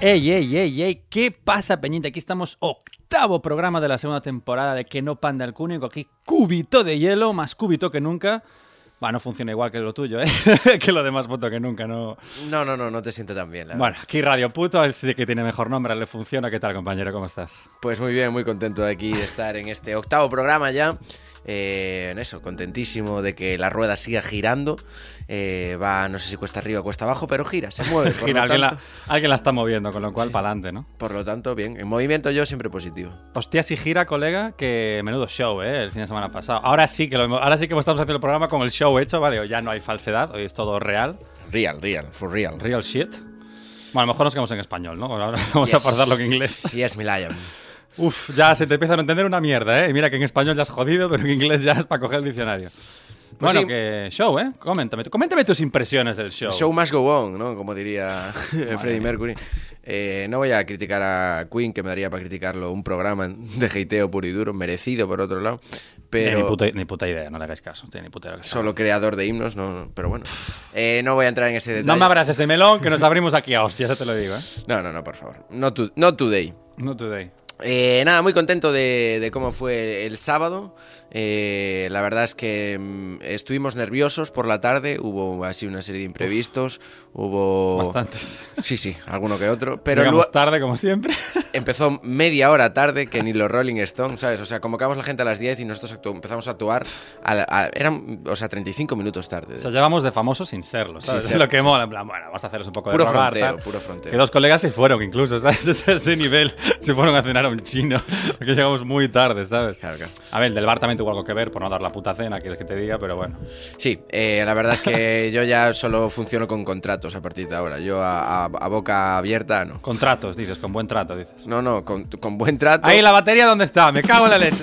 ¡Ey, ey, ey, ey! ¿Qué pasa, Peñita? Aquí estamos, octavo programa de la segunda temporada de Que no panda el cúnico. Aquí, cúbito de hielo, más cúbito que nunca. Bueno, no funciona igual que lo tuyo, ¿eh? que lo demás puto que nunca, ¿no? No, no, no, no te siento tan bien. la Bueno, aquí Radio Puto, el sí que tiene mejor nombre, le funciona. ¿Qué tal, compañero? ¿Cómo estás? verdad. Pues muy bien, muy contento de aquí de estar en este octavo programa ya. Eh, en eso, contentísimo de que la rueda siga girando. Eh, va, no sé si cuesta arriba o cuesta abajo, pero gira, se mueve. Por, Gira, lo alguien, tanto, la, alguien la está moviendo, con lo cual, para adelante, ¿no? por lo tanto, bien. En movimiento yo siempre positivo. Hostia, si gira, colega, que menudo show, ¿eh? El fin de semana pasado. Ahora sí que, lo hemos- ahora sí que estamos haciendo el programa con el show hecho, ¿vale? Ya no hay falsedad, hoy es todo real. Real, real, for real. Real shit. Bueno, a lo mejor nos quedamos en español, ¿no? Ahora vamos Yes. a pasarlo en inglés. Yes, me lion. Uf, ya se te empieza a no entender una mierda, ¿eh? Y mira que en español ya has jodido, pero en inglés ya es para coger el diccionario. bueno, sí. que show, ¿eh? Coméntame, tú- coméntame tus impresiones del show. Show must go on, ¿no? Como diría Freddie Mercury. Eh, no voy a criticar a Queen, que me daría para criticarlo un programa de hateo puro y duro, merecido por otro lado. Pero... Ni, puta, ni puta idea, no le hagáis caso. tiene ni puta idea lo que solo creador de himnos, no, no, pero bueno. Eh, no voy a entrar en ese sea. detalle. No me abras ese melón que nos abrimos aquí a hostias, ya te lo digo, ¿eh? No, no, no, por favor. No, tu- no today. No today. Eh, nada, muy contento de, de cómo fue el sábado. Eh, la verdad es que mm, estuvimos nerviosos por la tarde. Hubo así una serie de imprevistos. Oh. hubo. Bastantes. Sí, sí, alguno que otro. Pero Llegamos luego tarde, como siempre. empezó media hora tarde que ni los Rolling Stones, ¿sabes? O sea, convocamos a la gente a las 10 y nosotros actu- empezamos a actuar. a la- a- eran, o sea, 35 minutos tarde. O sea, llevamos de famosos sin serlo, ¿sabes? Sin serlo, lo que mola, en plan, bueno, vamos a hacerles un poco Puro de rogar, fronteo, tal. puro fronteo. Que dos colegas se fueron incluso, ¿sabes? Es ese nivel. Se fueron a cenar a un chino, porque llegamos muy tarde, ¿sabes? Claro, claro. A ver, el del bar también tuvo algo que ver, por no dar la puta cena, quieres que te diga, pero bueno. Sí, eh, la verdad es que yo ya solo funciono con contratos a partir de ahora. Yo a, a- a boca abierta no. Contratos, dices, con buen trato, dices. No, no, con, con buen trato. Ahí la batería, ¿dónde está? Me cago en la leche.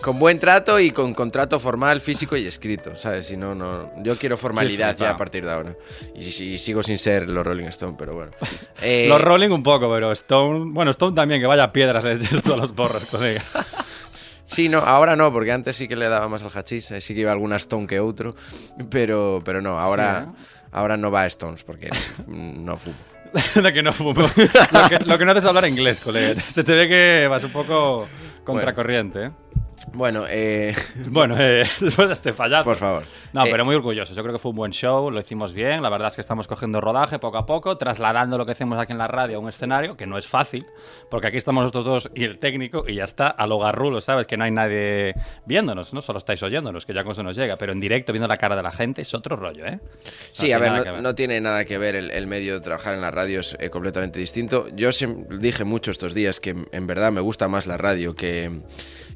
Con buen trato y con contrato formal, físico y escrito, ¿sabes? Si no, no. Yo quiero formalidad ya flipado. a partir de ahora. Y, si- y sigo sin ser los Rolling Stone, pero bueno. Eh, Los Rolling un poco, pero Stone... Bueno, Stone también, que vaya piedras les des todos los borros, colega. Eh, Sí, no, ahora no, porque antes sí que le daba más al hachís, eh, sí que iba alguna Stone que otro, pero, pero no, ahora, ahora no va a Stones, porque mm, no fumo. De que no fumo. Lo que, lo que no haces es hablar inglés, colega. Se te ve que vas un poco contracorriente, ¿eh? Bueno, eh, Bueno, eh, después de este fallazo. Por favor. No, Eh, pero muy orgullosos. Yo creo que fue un buen show, lo hicimos bien. La verdad es que estamos cogiendo rodaje poco a poco, trasladando lo que hacemos aquí en la radio a un escenario, que no es fácil, porque aquí estamos nosotros dos y el técnico, y ya está, a lo garrulo, ¿sabes? Que no hay nadie viéndonos, ¿no? Solo estáis oyéndonos, que ya con eso nos llega. Pero en directo, viendo la cara de la gente, es otro rollo, ¿eh? No Sí, tiene a ver, nada no, que no tiene nada que ver el, el medio de trabajar en la radio, es eh, completamente distinto. Yo siem- dije mucho estos días que en verdad me gusta más la radio que,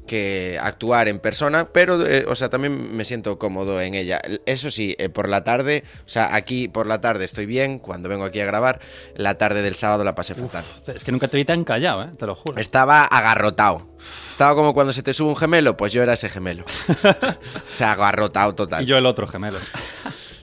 que actuar en persona, pero, eh, o sea, también me siento cómodo en ella. L- Eso sí, eh, por la tarde, o sea, aquí por la tarde estoy bien, cuando vengo aquí a grabar, la tarde del sábado la pasé fatal. Es que nunca te vi tan callado, ¿eh? Te lo juro. Estaba agarrotado. Estaba como cuando se te sube un gemelo, pues yo era ese gemelo. o sea, agarrotado total. Y yo el otro gemelo.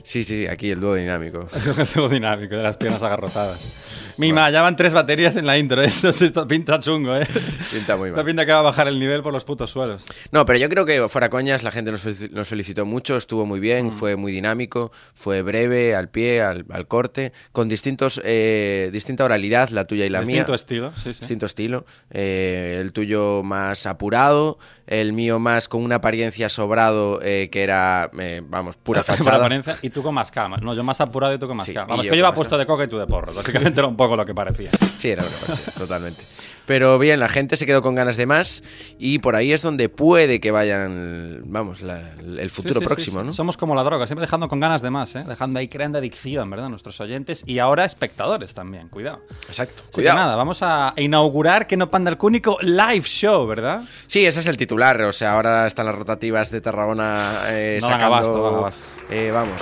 Sí, sí, aquí el dúo dinámico. Con el cebo dinámico de las piernas agarrotadas. Mima, ya van tres baterías en la intro, ¿eh? Entonces esto pinta chungo, ¿eh? Pinta muy mal. Esta pinta que va a bajar el nivel por los putos suelos. No, pero yo creo que fuera coñas, la gente nos, felici- nos felicitó mucho, estuvo muy bien, Mm. fue muy dinámico, fue breve, al pie, al, al corte, con distintos eh, distinta oralidad, la tuya y la Distinto mía. estilo, sí, sí. Distinto estilo. Eh, el tuyo más apurado, el mío más con una apariencia sobrado eh, que era, eh, vamos, pura Por fachada. apariencia, y tú con más calma. No, yo más apurado y tú con más Sí, calma. y Vamos, yo que yo con iba más puesto de coca y tú de porro. Básicamente era un poco lo que parecía. Sí, era una parte, totalmente. Pero bien, la gente se quedó con ganas de más y por ahí es donde puede que vayan, vamos, la- el futuro Sí, sí, próximo, sí, sí. ¿no? Somos como la droga, siempre dejando con ganas de más, ¿eh? Dejando ahí, creando adicción, ¿verdad? Nuestros oyentes y ahora espectadores también, cuidado. Exacto. Así que Cuidado. nada, vamos a inaugurar que no panda el cúnico live show, ¿verdad? Sí, ese es el titular. O sea, ahora están las rotativas de Tarragona eh, No dan sacando abasto, no dan abasto. Eh, vamos.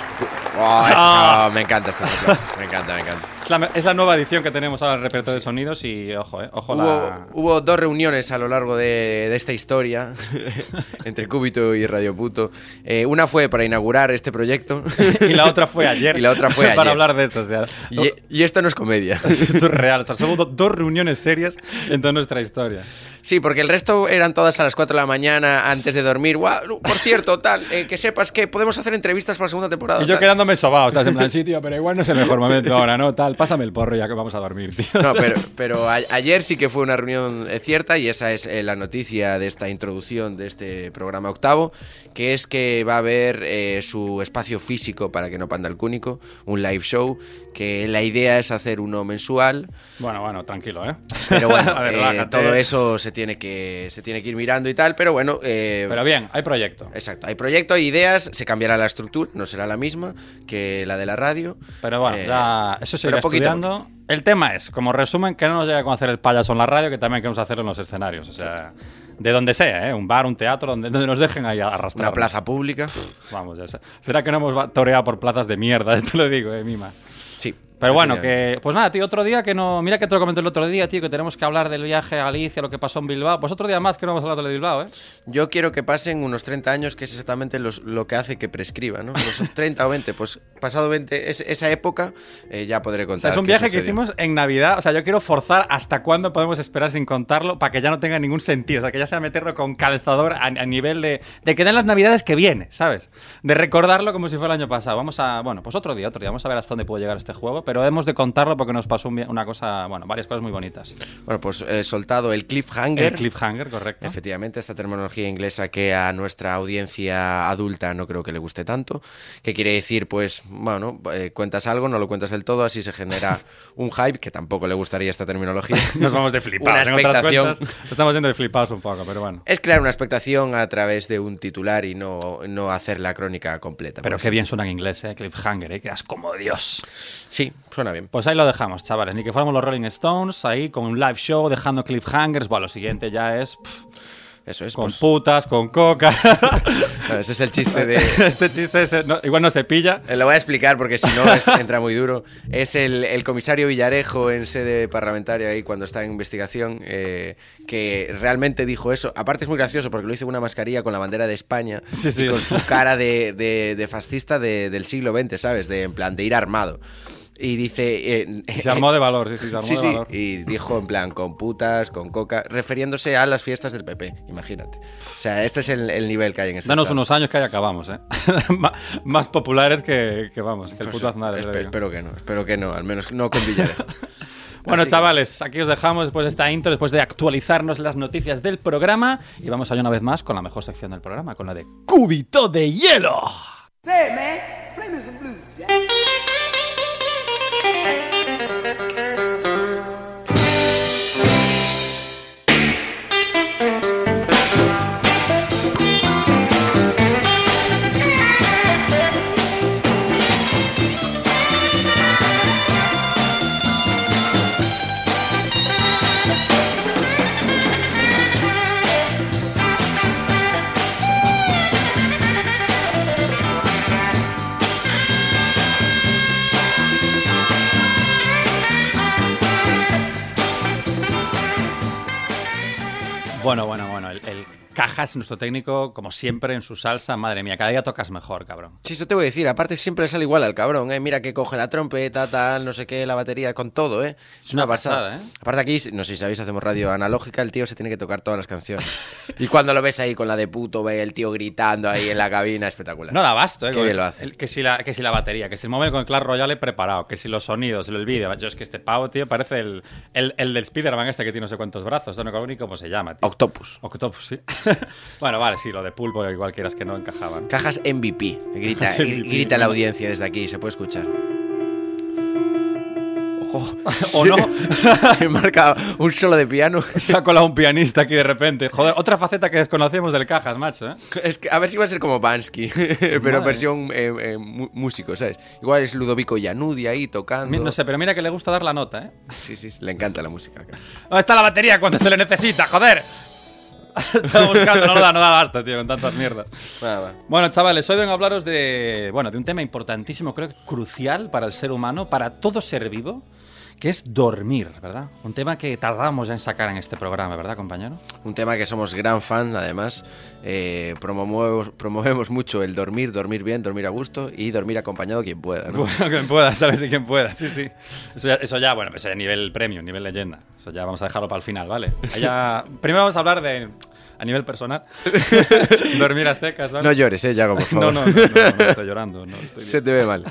Oh, es- Ah. oh, me encanta estas clases, me encanta, me encanta. Es la, es la nueva edición que tenemos ahora del repertorio de sonidos y ojo, eh, ojo la... Hubo, hubo dos reuniones a lo largo de, de esta historia entre Cúbito y Radio Puto. Eh, una fue para inaugurar este proyecto. y la otra fue ayer. Y la otra fue Para ayer. hablar de esto, o sea... Y, y esto no es comedia. Esto es real, o sea, somos do- dos reuniones serias en toda nuestra historia. Sí, porque el resto eran todas a las 4 de la mañana antes de dormir. Guau, no, por cierto, tal, eh, que sepas que podemos hacer entrevistas para la segunda temporada. Y yo tal. quedándome sobado, o sea, en plan, sí, tío, pero igual no es el mejor momento ahora, ¿no? Tal, pásame el porro ya que vamos a dormir, tío. No, pero, pero a- ayer sí que fue una reunión eh, cierta y esa es eh, la noticia de esta introducción de este programa octavo, que es que va a haber eh, su espacio físico para que no panda el cúnico, un live show, que la idea es hacer uno mensual, Bueno, bueno, tranquilo, ¿eh? pero bueno, A ver, eh, relájate. todo eso se tiene, que, se tiene que ir mirando y tal, pero bueno... eh, Pero bien, hay proyecto. Exacto, hay proyecto, hay ideas, se cambiará la estructura, no será la misma que la de la radio. Pero bueno, Eh, ya eso se irá pero poquito a estudiando. El tema es, como resumen, que no nos llega a conocer el payaso en la radio, que también queremos hacerlo en los escenarios. O sea, de donde sea, ¿eh? Un bar, un teatro, donde, donde nos dejen ahí arrastrar. Una plaza pública. Vamos, ya sé. Será que no hemos va- toreado por plazas de mierda, te lo digo, eh, Mima. Sí. Pero bueno, Así que. Pues nada, tío, otro día que no. Mira que te lo comenté el otro día, tío, que tenemos que hablar del viaje a Galicia, lo que pasó en Bilbao. Pues otro día más que no vamos a hablar de Bilbao, ¿eh? Yo quiero que pasen unos 30 años, que es exactamente los- lo que hace que prescriba, ¿no? Los 30 o 20, pues pasado 20, es- esa época eh, ya podré O sea, contar. es un qué viaje que sucedió. hicimos en Navidad. O sea, yo quiero forzar hasta cuándo podemos esperar sin contarlo para que ya no tenga ningún sentido. O sea, que ya sea meterlo con calzador a, a nivel de, de que den las Navidades que viene, ¿sabes? De recordarlo como si fuera el año pasado. Vamos a. Bueno, pues otro día, otro día. Vamos a ver hasta dónde puede llegar este juego. Pero hemos de contarlo porque nos pasó un vi- una cosa. Bueno, varias cosas muy bonitas. Bueno, pues eh, soltado el cliffhanger. El cliffhanger, correcto. Efectivamente, esta terminología inglesa que a nuestra audiencia adulta no creo que le guste tanto, que quiere decir, pues, bueno, eh, cuentas algo, no lo cuentas del todo, así se genera un hype, que tampoco le gustaría esta terminología. Nos vamos de flipados. Una en otras expectación. cuentas, nos estamos yendo de flipados un poco, pero bueno. Es crear una expectación a través de un titular y no, no hacer la crónica completa. Pero pues. qué bien suena en inglés, ¿eh? Cliffhanger, ¿eh? Quedas como Dios. Sí, suena bien. Pues ahí lo dejamos, chavales. Ni que fuéramos los Rolling Stones, ahí con un live show, dejando cliffhangers. Bueno, lo siguiente ya es pff, Eso es. con pues. putas, con coca. Bueno, ese es el chiste de... este chiste ese, no- igual no se pilla. Eh, Lo voy a explicar porque si no es- entra muy duro. Es el, el comisario Villarejo en sede parlamentaria ahí cuando está en investigación eh, que realmente dijo eso. Aparte es muy gracioso porque lo hizo con una mascarilla con la bandera de España Sí, sí, y con es- su cara de, de- de fascista de- del siglo XX, ¿sabes? De, en plan de ir armado. Y dice... eh, Y Se armó de valor, sí, sí, se armó Sí, de sí, valor. y dijo en plan con putas, con coca, refiriéndose a las fiestas del PP, imagínate. O sea, este es el, el nivel que hay en este Danos estado. unos años que ahí acabamos, ¿eh? Ma- Más populares que, que, vamos, que el Pues, puto Aznar. espe- yo digo. espero que no, espero que no, al menos no con Villarejo. Bueno, Así que- chavales, aquí os dejamos después de esta intro, después de actualizarnos las noticias del programa. Y vamos allá una vez más con la mejor sección del programa, con la de Cúbito de Hielo. Say, man, play me some blues, Jack. Bueno, bueno, bueno, el, el Cajas, nuestro técnico, como siempre, en su salsa. Madre mía, cada día tocas mejor, cabrón. Sí, eso te voy a decir. Aparte, siempre le sale igual al cabrón, ¿eh? Mira que coge la trompeta, tal, no sé qué, la batería, con todo, ¿eh? Es una una pasada. pasada, ¿eh? Aparte, aquí, no sé si sabéis, hacemos radio analógica, el tío se tiene que tocar todas las canciones. y cuando lo ves ahí con la de puto, ve el tío gritando ahí en la cabina, espectacular. No da basto, ¿eh? Qué con bien el- lo hace. el- que, si la, que si la batería, que si el móvil con el Clash Royale preparado, que si los sonidos, el vídeo. Yo es que este pavo, tío, parece el, el, el del Spider-Man este que tiene no sé cuántos brazos. No sé ni cómo se llama, tío. Octopus. Octopus, sí. bueno, vale, sí, lo de pulpo, igual quieras que no encajaba. ¿no? Cajas MVP. Grita, Cajas gr- MVP. grita la audiencia desde aquí, se puede escuchar. Ojo. ¿O no? Se marca un solo de piano. Se ha colado un pianista aquí de repente. Joder, otra faceta que desconocemos del Cajas, macho, ¿eh? Es que, a ver si va a ser como Bansky, pero Madre. versión eh, eh, mu- músico, ¿sabes? Igual es Ludovico Yanudi ahí tocando. Mi- No sé, pero mira que le gusta dar la nota, ¿eh? Sí, sí, sí, le encanta la música. ¿Dónde está la batería cuando se le necesita, joder? Estaba buscando, no, no da, no da basta, tío, con tantas mierdas. Va, va. Bueno, chavales, hoy vengo a hablaros de, bueno, de un tema importantísimo, creo que crucial para el ser humano, para todo ser vivo, que es dormir, ¿verdad? Un tema que tardamos ya en sacar en este programa, ¿verdad, compañero? Un tema que somos gran fan, además. Eh, promovemos, promovemos mucho el dormir, dormir bien, dormir a gusto y dormir acompañado quien pueda. ¿no? Bueno, quien pueda, ¿sabes? Y quien pueda, sí, sí. Eso ya, eso ya, bueno, eso ya nivel premium, nivel leyenda. Eso ya vamos a dejarlo para el final, ¿vale? Ahí ya- primero vamos a hablar de, a nivel personal, dormir a secas, ¿vale? No llores, eh, Yago, por no, favor. no, no, no, no estoy llorando. No, estoy Se te ve mal.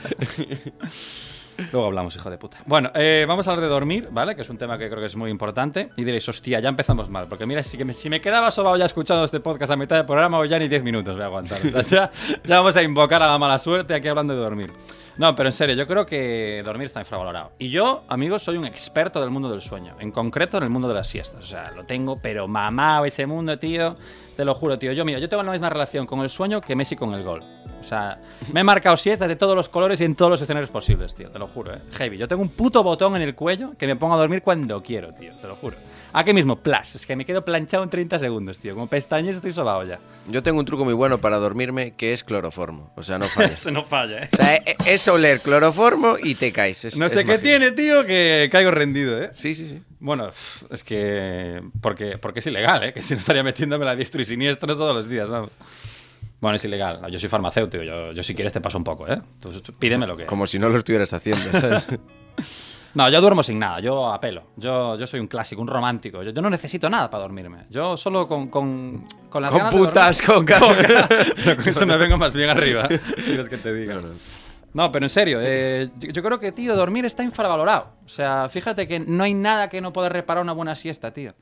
Luego hablamos, hijo de puta. Bueno, eh, vamos a hablar de dormir, ¿vale? Que es un tema que creo que es muy importante. Y diréis, hostia, ya empezamos mal. Porque mira, si, que me, si me quedaba sobado ya escuchando este podcast a mitad del programa, o ya ni 10 minutos voy a aguantar. O sea, ya, ya vamos a invocar a la mala suerte aquí hablando de dormir. No, pero en serio, yo creo que dormir está infravalorado. Y yo, amigos, soy un experto del mundo del sueño. En concreto, en el mundo de las siestas. O sea, lo tengo, pero mamado ese mundo, tío. Te lo juro, tío. Yo, mira, yo tengo la misma relación con el sueño que Messi con el gol. O sea, me he marcado siestas de todos los colores y en todos los escenarios posibles, tío. Te lo juro, eh. Heavy. Yo tengo un puto botón en el cuello que me pongo a dormir cuando quiero, tío. Te lo juro. Aquí mismo, plas. Es que me quedo planchado en 30 segundos, tío. Como pestañas estoy sobado ya. Yo tengo un truco muy bueno para dormirme que es cloroformo. O sea, no fallas. Eso no falla, eh. O sea, e- es oler cloroformo y te caes. Es- No es sé qué mágico. tiene, tío, que caigo rendido, eh. Sí, sí, sí. Bueno, es que. Porque, porque es ilegal, ¿eh? Que si no estaría metiéndome la diestro y siniestro todos los días, vamos. Bueno, es ilegal. Yo soy farmacéutico. Yo, yo si quieres te paso un poco, ¿eh? Entonces, tú pídeme lo que. Como si no lo estuvieras haciendo, ¿sabes? No, yo duermo sin nada. Yo apelo. Yo, yo soy un clásico, un romántico. Yo, yo no necesito nada para dormirme. Yo solo con. Con, con las con ganas de dormir. putas, con ganas. No, con eso me vengo más bien arriba. ¿Quieres que te diga? No, pero en serio, eh, yo, yo creo que, tío, dormir está infravalorado. O sea, fíjate que no hay nada que no pueda reparar una buena siesta, tío.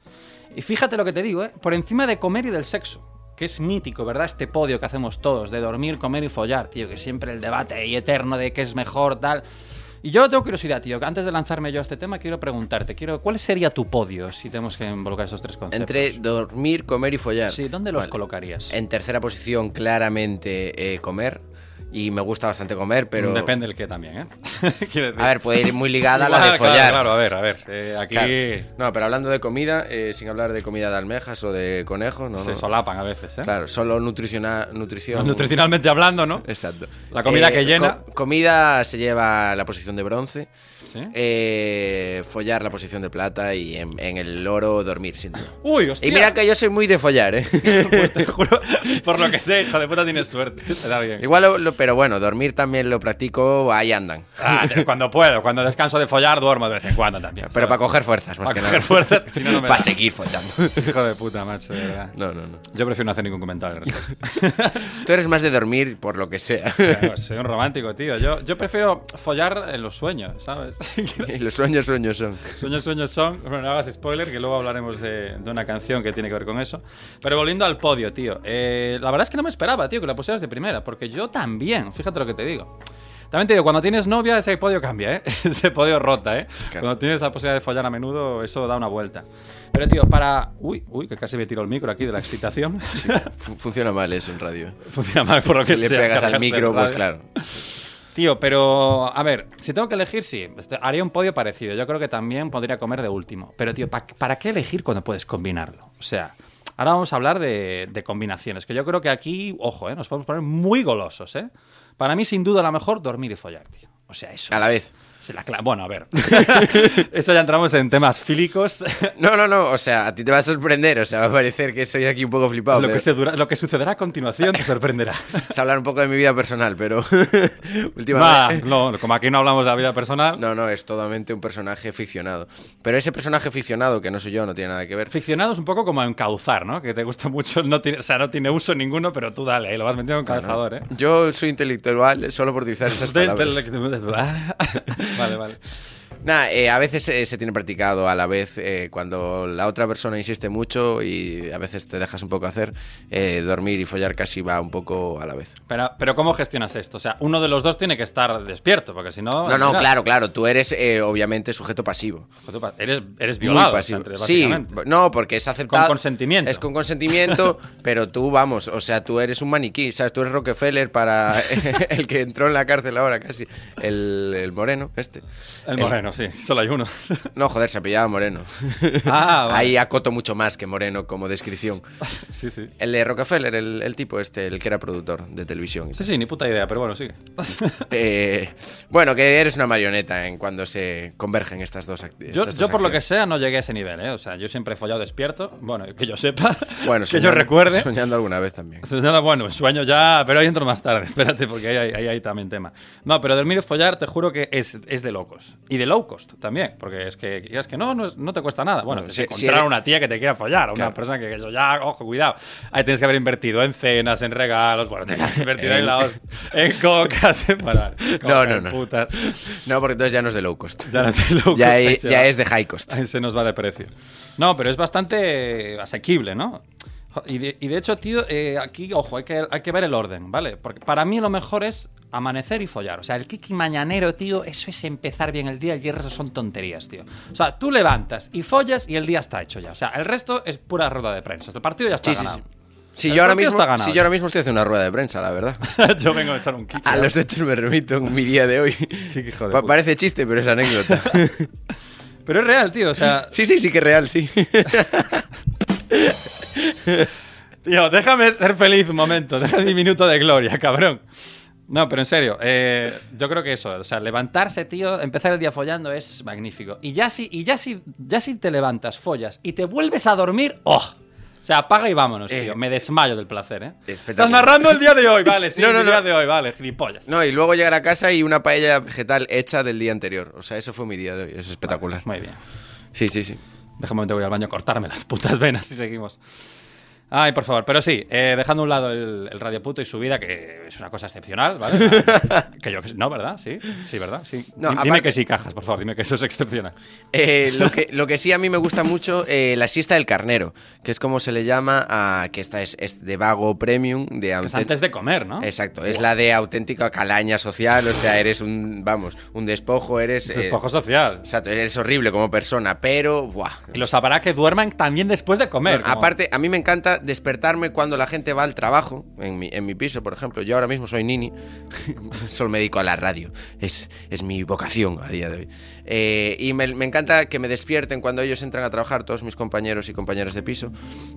Y fíjate lo que te digo, ¿eh? Por encima de comer y del sexo. Que es mítico, ¿verdad? Este podio que hacemos todos, de dormir, comer y follar, tío. Que siempre el debate ahí eterno de qué es mejor, tal. Y yo tengo curiosidad, tío. que Antes de lanzarme yo a este tema, quiero preguntarte, quiero, ¿cuál sería tu podio si tenemos que involucrar esos tres conceptos? Entre dormir, comer y follar. Sí, ¿dónde los Vale. Eh, colocarías? En tercera posición, claramente eh, comer. Y me gusta bastante comer, pero. Depende el qué también, ¿eh? Quiero decir- A ver, puede ir muy ligada a Igual, la de claro, follar. Claro, a ver, a ver. eh, aquí Claro. No, pero hablando de comida, eh, sin hablar de comida de almejas o de conejos, no. se no. solapan a veces, ¿eh? Pues Claro, solo nutriciona- nutrición. Nutricionalmente hablando, ¿no? Exacto. Eh, La comida que llena. co- comida se lleva la posición de bronce. Sí. Eh, follar la posición de plata y en, en el oro dormir, sin duda. Uy, hostia. Y mira que yo soy muy de follar, ¿eh? Pues te juro, por lo que sé, hija de puta, tienes suerte. Te da bien. Igual, lo- lo- pero bueno, dormir también lo practico, ahí andan. Ah, te- cuando puedo, cuando descanso de follar, duermo de vez en cuando también. Pero ¿sabes? para coger fuerzas, más Para que coger nada. fuerzas, que si no, no me Para da. seguir follando. Hijo de puta, macho, de verdad. No, no, no. Yo prefiero no hacer ningún comentario al respecto. Tú eres más de dormir por lo que sea. Claro, soy un romántico, tío. Yo, yo prefiero follar en los sueños, ¿sabes? Y los sueños, sueños son. Sueños, sueños son. Bueno, no hagas spoiler, que luego hablaremos de, de una canción que tiene que ver con eso. Pero volviendo al podio, tío. eh, la verdad es que no me esperaba, tío, que la pusieras de primera, porque yo también, fíjate lo que te digo. También te digo, cuando tienes novia, ese podio cambia, ¿eh? Ese podio rota, ¿eh? Claro. Cuando tienes la posibilidad de follar a menudo, eso da una vuelta. Pero, tío, para. Uy, uy, que casi me tiro el micro aquí de la excitación. Fu- funciona mal eso en radio. Funciona mal por lo que Si le sea, pegas al cargarse micro, el pues radio. claro. Tío, pero a ver, si tengo que elegir, sí, este, haría un podio parecido. Yo creo que también podría comer de último. Pero, tío, ¿pa- ¿para qué elegir cuando puedes combinarlo? O sea, ahora vamos a hablar de, de combinaciones, que yo creo que aquí, ojo, ¿eh? nos podemos poner muy golosos, ¿eh? Para mí, sin duda, la mejor dormir y follar, tío. O sea, eso. A la es- vez. se la cla- bueno, a ver. Esto ya entramos en temas fílicos. No, no, no. O sea, a ti te va a sorprender. O sea, va a parecer que soy aquí un poco flipado. lo, que pero- se dura- lo que sucederá a continuación te sorprenderá. Es hablar un poco de mi vida personal, pero Va, últimamente... no, como aquí no hablamos de la vida personal. No, no, es totalmente un personaje ficcionado. Pero ese personaje ficcionado, que no soy yo, no tiene nada que ver. Ficcionado es un poco como encauzar, ¿no? Que te gusta mucho, no tiene, o sea, no tiene uso ninguno, pero tú dale, ahí lo vas metiendo en calzador, ¿eh? Yo soy intelectual solo por utilizar esas Usted palabras. intelectual- vale, vale. Nada, eh, a veces eh, se tiene practicado a la vez eh, cuando la otra persona insiste mucho y a veces te dejas un poco hacer, eh, dormir y follar casi va un poco a la vez. Pero, pero ¿cómo gestionas esto? O sea, uno de los dos tiene que estar despierto, porque si no... No, al no, final- claro, claro, tú eres eh, obviamente sujeto pasivo. Pues tú pa- Eres, eres Muy violado, o sea, pasivo. entre- sí, básicamente. no, porque es aceptado. Con consentimiento. Es con consentimiento, pero tú, vamos, o sea, tú eres un maniquí, ¿sabes? Tú eres Rockefeller para el que entró en la cárcel ahora casi, el, el moreno, este. El moreno, sí, solo hay uno. No, joder, se apellaba Moreno. ah, vale. Ahí acoto mucho más que Moreno como descripción. Sí, sí. El de Rockefeller, el, el tipo este, el que era productor de televisión. y Sí, sí, ni puta idea, pero bueno, sigue. tal. Eh, bueno, que eres una marioneta en cuando se convergen estas dos actividades. Yo, yo por lo que sea, no llegué a ese nivel, ¿eh? O sea, yo siempre he follado despierto. Bueno, que yo sepa. Bueno, que soñando- yo recuerde. Soñando alguna vez también. Entonces, nada, bueno, sueño ya, pero ahí entro más tarde, espérate, porque ahí hay, ahí hay también tema. No, pero dormir y follar, te juro que es, es de locos. Y de low cost también, porque es que, es que no, no, es- no te cuesta nada. Bueno, Bueno, te si- encontrar si eres- una tía que te quiera follar, o una Claro. persona que eso ya, ojo, cuidado. Ahí tienes que haber invertido en cenas, en regalos, bueno, tienes que invertir en, En- la host- en cocas, en bueno, en No, coca, no, en no. putas. No, porque entonces ya no es de low cost. Ya no es de low cost, Ya, ahí es, se ya va. es de high cost. Ahí se nos va de precio. No, pero es bastante eh, asequible, ¿no? Jo- Y de, y de hecho, tío, eh, aquí, ojo, hay que, hay que ver el orden, ¿vale? Porque para mí lo mejor es amanecer y follar. O sea, el kiki mañanero, tío, eso es empezar bien el día y el resto son tonterías, tío. O sea, tú levantas y follas y el día está hecho ya. O sea, el resto es pura rueda de prensa. El partido ya está Sí, sí, ganado. sí. Si El yo, ahora partido mismo, está ganado ¿eh? si yo ahora mismo estoy haciendo una rueda de prensa, la verdad. yo vengo a echar un kiki. A ¿no? los hechos me remito en mi día de hoy. que hijo de Pa- puta. parece chiste, pero es anécdota. Pero es real, tío. O sea, Sí, sí, sí que es real, sí. Tío, déjame ser feliz un momento, déjame mi minuto de gloria, cabrón. No, pero en serio, eh, yo creo que eso, o sea, levantarse, tío, empezar el día follando es magnífico. Y ya si, y ya si, ya si te levantas, follas y te vuelves a dormir, ¡oh! O sea, apaga y vámonos, Eh. tío. Me desmayo del placer, ¿eh? Estás Espectacular. narrando el día de hoy, vale, sí, No, no, el no. día de hoy, vale, gilipollas. No, y luego llegar a casa y una paella vegetal hecha del día anterior. O sea, eso fue mi día de hoy. Es espectacular. Muy bien. Sí, sí, sí. Déjame un momento, voy al baño a cortarme las putas venas y seguimos. Ay, por favor, pero sí, eh, dejando a un lado el, el radio puto y su vida, que es una cosa excepcional, ¿vale? que yo que no, ¿verdad? Sí, sí, ¿verdad? Sí. No, Di- dime aparte- que sí, cajas, por favor, dime que eso es excepcional. Eh, lo, que, lo que sí a mí me gusta mucho, eh, la siesta del carnero, que es como se le llama a... que esta es, es de vago premium, de... Que es auten- antes de comer, ¿no? Exacto, es la de auténtica calaña social, o sea, eres un, vamos, un despojo, eres... eh, Despojo social. Exacto, eres horrible como persona, pero... Buah, Y los sabrá que duerman también después de comer. Bueno, como- Aparte, a mí me encanta despertarme cuando la gente va al trabajo, en mi, en mi piso, por ejemplo. Yo ahora mismo soy nini, solo me dedico a la radio. Es, es mi vocación a día de hoy. Eh, y me, me encanta que me despierten cuando ellos entran a trabajar, todos mis compañeros y compañeras de piso,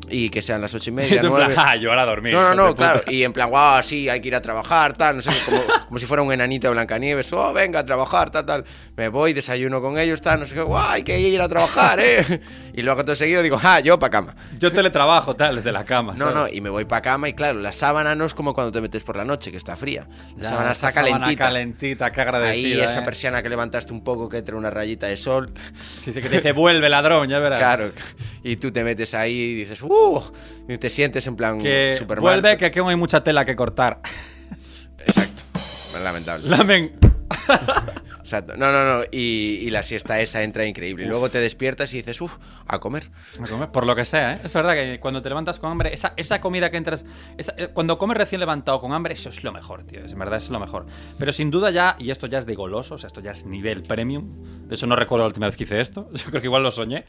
y que sean las ocho Y tú y en media, plan, nueve. "Ah, yo ahora a dormir. No, no, hijos de no, puta". claro. Y en plan, guau, sí, hay que ir a trabajar, tal, no sé, qué, como, como si fuera un enanito de Blancanieves. Oh, venga, a trabajar, tal, tal. Me voy, desayuno con ellos, tal, no sé qué, guau, hay que ir a trabajar, eh. Y luego todo seguido digo, ah, yo pa' cama. Yo teletrabajo, tal, desde la cama. No, no, ¿sabes? y me voy para cama y claro, la sábana no es como cuando te metes por la noche, que está fría. La Ya, sábana esa está sábana calentita. calentita, qué Ahí agradecida. esa ¿eh? persiana que levantaste un poco, que entra una rayita de sol. Sí, sí, que te dice, vuelve ladrón, ya verás. Claro. Y tú te metes ahí y dices, ¡uh! Y te sientes en plan Que Superman. vuelve, que aquí aún hay mucha tela que cortar. Exacto. Lamentable. Lamen. Exacto. No, no, no. Y, y la siesta esa entra increíble. Y luego te despiertas y dices, ¡uf! A comer. A comer, Por lo que sea, ¿eh? Es verdad que cuando te levantas con hambre, esa, esa comida que entras. esa- eh, cuando comes recién levantado con hambre, eso es lo mejor, tío. Es en verdad, es lo mejor. Pero sin duda ya, y esto ya es de goloso, o sea, esto ya es nivel premium. De hecho, no recuerdo la última vez que hice esto. Yo creo que igual lo soñé.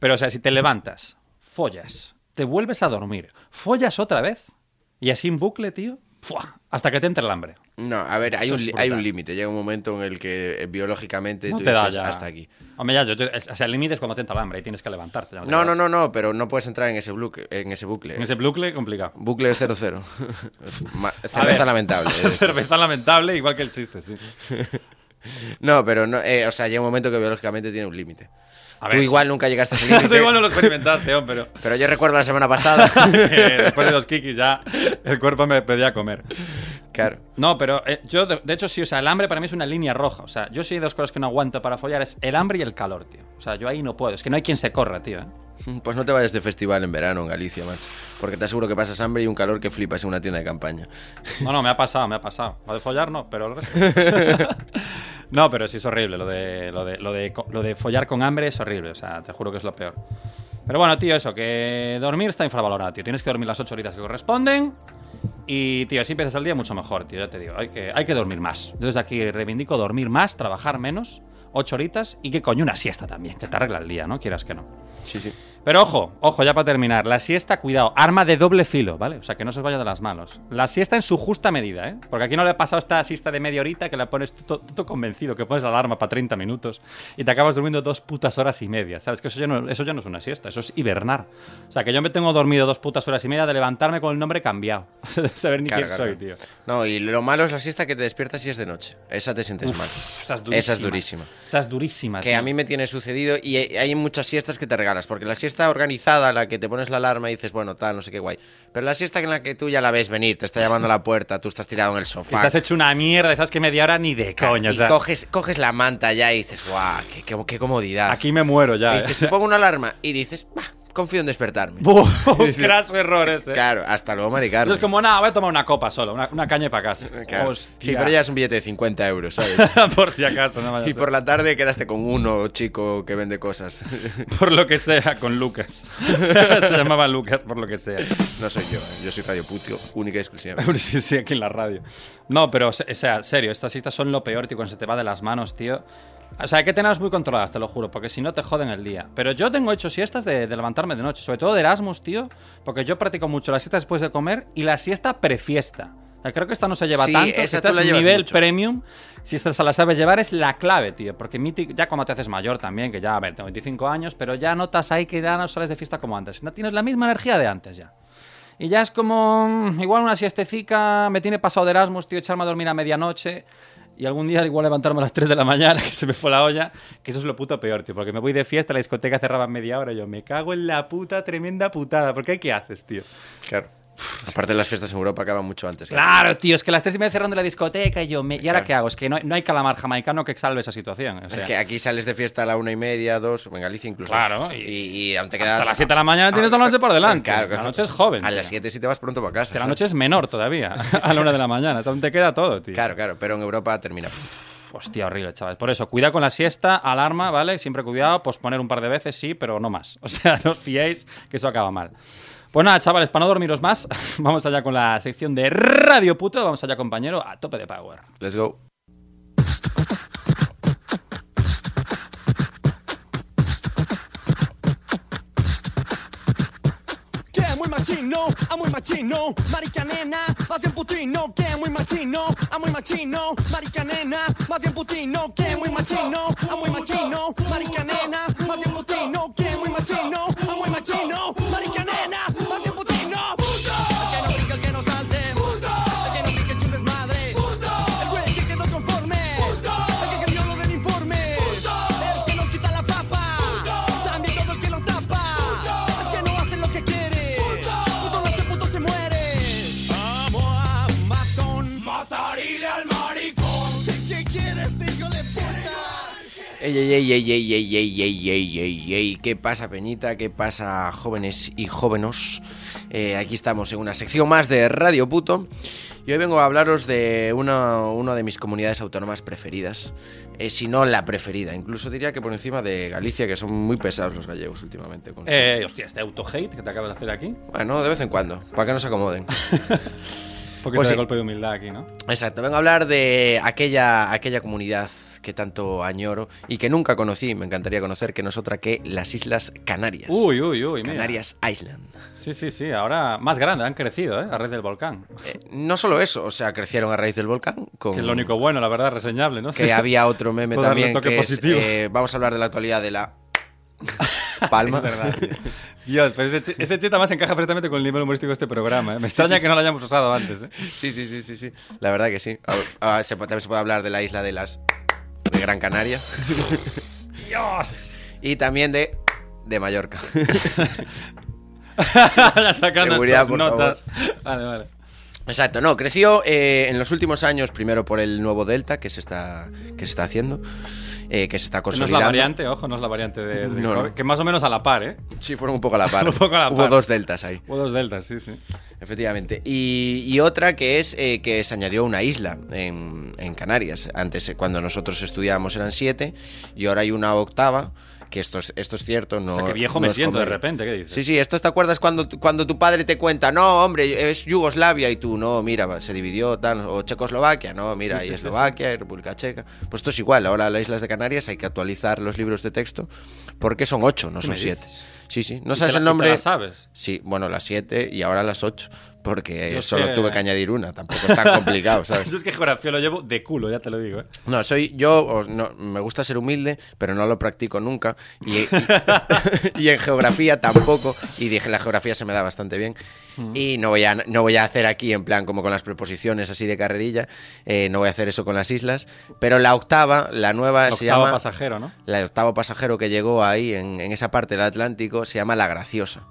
Pero, o sea, si te levantas, follas, te vuelves a dormir, follas otra vez, y así en bucle, tío, ¡fua! hasta que te entre el hambre. No, a ver, hay Eso un, es li- hay un brutal. límite. Llega un momento en el que eh, biológicamente No tú te da dices, ya. hasta aquí. Hombre, ya, yo, yo- o sea, el límite es cuando te entra el hambre y tienes que levantarte. ya te No, queda- no, eh. no, no, pero no puedes entrar en ese bucle. En ese bucle. En ese bucle, complicado. Bucle 00. Ma- ver. Cerveza lamentable. Cerveza lamentable, igual que el chiste, sí. No, pero no, eh, o sea, llega un momento que biológicamente tiene un límite. A Tú ver, igual nunca llegaste a ese Tú límite. igual no lo experimentaste, hombre, pero Pero yo recuerdo la semana pasada. eh, después de los kikis ya el cuerpo me pedía comer. claro. No, pero eh, yo, de, de hecho, sí, o sea, el hambre para mí es una línea roja. O sea, yo sí hay dos cosas que no aguanto para follar, es el hambre y el calor, tío. O sea, yo ahí no puedo, es que no hay quien se corra, tío. ¿eh? Pues no te vayas de festival en verano en Galicia, macho. Porque te aseguro que pasas hambre y un calor que flipas en una tienda de campaña. No, no, me ha pasado, me ha pasado. Lo de follar no, pero el resto. no, pero sí es horrible. Lo de, lo, de, lo, de, co- lo de follar con hambre es horrible. O sea, te juro que es lo peor. Pero bueno, tío, eso, que dormir está infravalorado, tío. Tienes que dormir las 8 horitas que corresponden. Y, tío, así empiezas el día mucho mejor, tío. Ya te digo, hay que, hay que dormir más. Yo desde aquí reivindico dormir más, trabajar menos, 8 horitas y que coño una siesta también, que te arregla el día, ¿no? Quieras que no. Sí, sí. Pero ojo, ojo, ya para terminar. La siesta, cuidado, arma de doble filo, ¿vale? O sea, que no se os vaya de las manos. La siesta en su justa medida, ¿eh? Porque aquí no le ha pasado esta siesta de media horita que la pones todo convencido, que pones la alarma para 30 minutos y te acabas durmiendo dos putas horas y media. ¿Sabes? Que eso ya, no, eso ya no es una siesta, eso es hibernar. O sea, que yo me tengo dormido dos putas horas y media de levantarme con el nombre cambiado. de saber ni Carga, quién soy, tío. carga. No, y lo malo es la siesta que te despiertas si es de noche. Esa te sientes mal. Uf, esa es durísima. Esa es durísima. Esa es durísima, Que tío. a mí me tiene sucedido y he- hay muchas siestas que te regalas, porque la siesta organizada, la que te pones la alarma y dices, bueno, tal, no sé qué guay, pero la siesta en la que tú ya la ves venir, te está llamando a la puerta, tú estás tirado en el Que sofá, Estás hecho una mierda, sabes que media hora ni de coño. y o sea, coges, coges la manta ya y dices, guau, qué, qué- qué comodidad. aquí me muero Y ya. dices, ¿eh? te pongo una alarma y dices, bah, confío en despertarme. Buh, un craso error ese. Claro, hasta luego, Mari Carmen. Entonces, como nada, voy a tomar una copa solo, una, una caña para casa. Claro. Sí, Hostia. pero ya es un billete de 50 euros, ¿sabes? por si acaso, no vaya a y ser. por la tarde quedaste con uno chico que vende cosas. Por lo que sea, con Lucas. Se llamaba Lucas, por lo que sea. no soy yo, ¿eh? yo soy Radio Putio, única y exclusiva. Sí, sí, aquí en la radio. No, pero, o sea, serio, estas citas son lo peor, tío, cuando se te va de las manos, tío. O sea, hay que tenerlas muy controladas, te lo juro, porque si no te joden el día. Pero yo tengo hecho siestas de, de levantarme de noche, sobre todo de Erasmus, tío, porque yo practico mucho la siesta después de comer y la siesta prefiesta. O sea, creo que esta no se lleva Sí, tanto, esa si tú estás la llevas nivel mucho. premium, si esta se la sabes llevar es la clave, tío, porque mítico- ya cuando te haces mayor también, que ya, a ver, tengo 25 años, pero ya notas ahí que ya no sales de fiesta como antes, no tienes la misma energía de antes ya. Y ya es como, mm, igual una siestecica, me tiene pasado de Erasmus, tío, echarme a dormir a medianoche. Y algún día igual levantarme a las 3 de la mañana, que se me fue la olla, que eso es lo puto peor, tío, porque me voy de fiesta, la discoteca cerraba en media hora, y yo me cago en la puta tremenda putada, porque ¿qué haces, tío? Claro. Aparte las fiestas en Europa acaban mucho antes. Claro, tío, es que a las 3 y media cerrando la discoteca, y yo, me- ¿y ahora Claro. qué hago? Es que no, no hay calamar jamaicano que salve esa situación. o Es sea, que aquí sales de fiesta a la una y media, dos, en Galicia incluso. Claro, y- Y, y aún te queda... Ah, hasta las 7 de la mañana tienes toda la noche por delante. Claro, La claro. noche es joven. A tío. las 7 si te vas pronto para casa. Que La ¿sabes? noche es menor todavía, a la 1 de la mañana, o sea, aún te queda todo, tío. Claro, claro, pero en Europa termina. pronto. Hostia, horrible, chavales. Por eso, cuidado con la siesta, alarma, ¿vale? Siempre cuidado, posponer un par de veces, sí, pero no más. O sea, no os fiéis que eso acaba mal. Pues nada, chavales, para no dormiros más, vamos allá con la sección de Radio Puto. Vamos allá, compañero, a tope de power. Let's go. Que muy machino, ah muy machino, marica nena, más bien putino, que muy machino, ah muy machino, marica nena, más bien putino, que muy machino, ah muy machino, marica nena, más bien putino, que muy machino, ah muy machino, marica nena, más bien putino, puto. El que no pica, el que no salte, puto. El que no pique es un desmadre, puto. El güey que quedó conforme, puto. El que cambió lo del informe, puto. El que nos quita la papa, puto. También todo el que nos tapa, puto. El que no hace lo que quiere, puto. Puto no hace, puto se muere. Vamos a matón, matarile al maricón. ¿Qué quieres, hijo de puta? Ey, ey, ey, ey, ey, ey, ey, ey, ey, ey, ey. ¿Qué pasa, Peñita? ¿Qué pasa, jóvenes y jóvenes? Eh, aquí estamos en una sección más de Radio Puto. Y hoy vengo a hablaros de una, una de mis comunidades autónomas preferidas. Eh, si no la preferida. Incluso diría que por encima de Galicia, que son muy pesados los gallegos últimamente. con su- Eh, hostia, este auto-hate que te acabas de hacer aquí. Un Bueno, de vez en cuando, para que no se acomoden. poquito Pues de sí. golpe de humildad aquí, ¿no? Exacto, vengo a hablar de aquella, aquella comunidad que tanto añoro y que nunca conocí, me encantaría conocer, que no es otra que las Islas Canarias. Uy, uy, uy, mira. Canarias Island. Sí, sí, sí, ahora más grande, han crecido, ¿eh? A raíz del volcán. Eh, no solo eso, o sea, crecieron a raíz del volcán. Con... Que es lo único bueno, la verdad, reseñable, ¿no? Oh. que había otro meme Todo darle también un toque que es, positivo. eh, vamos a hablar de la actualidad de la Sí, palma es verdad, tío. Dios, pero ese, chi- ese chiste más encaja perfectamente con el nivel humorístico de este programa. ¿eh? Me extraña que no lo hayamos usado antes. ¿eh? sí sí sí sí sí la verdad que sí Ah, ah, se puede- también se puede hablar de la isla de las de Gran Canaria ¡Dios! y también de de Mallorca Ya sacando Seguridad, estas por favor. notas. Vale, vale. Exacto, no, creció eh, en los últimos años, primero por el nuevo Delta que se está, que se está haciendo, eh, que se está Que No es consolidando. la variante, ojo, no es la variante de, del No, no. COVID, que más o menos a la par, ¿eh? Sí, fueron un poco a la par. Un poco a la Hubo par. dos Deltas ahí, O dos deltas, sí, sí. efectivamente. Y, y otra que es eh, que se añadió una isla en, en Canarias. Antes, eh, cuando nosotros estudiábamos, eran siete y ahora hay una octava. Que esto es, esto es cierto, no. O sea, que viejo no me es siento de comedia. repente, ¿qué dices? Sí, sí, esto te acuerdas cuando, tu- cuando tu padre te cuenta, no, hombre, es Yugoslavia y tú, no, mira, va, se dividió tal, o Checoslovaquia, no, mira, Sí, sí, y sí, Eslovaquia, y República Checa. Pues esto es igual, ahora las Islas de Canarias hay que actualizar los libros de texto porque son ocho, no ¿Qué son me siete. dices? Sí, sí. No ¿Y sabes te la- y el te nombre. la sabes? Sí, bueno, las 7 y ahora las 8. Porque Yo es solo que- tuve que añadir una. Tampoco es tan complicado, ¿sabes? Yo es que geografía lo llevo de culo, ya te lo digo. ¿eh? No, soy yo, o no, me gusta ser humilde, pero no lo practico nunca. Y, y- y en geografía tampoco. Y dije, la geografía se me da bastante bien. Mm. Y no voy, a, no voy a hacer aquí, en plan, como con las preposiciones así de carrerilla, eh, no voy a hacer eso con las islas. Pero la octava, la nueva, El Ah, se octavo llama. pasajero, ¿no? La octavo pasajero que llegó ahí, en, en esa parte del Atlántico, se llama La Graciosa.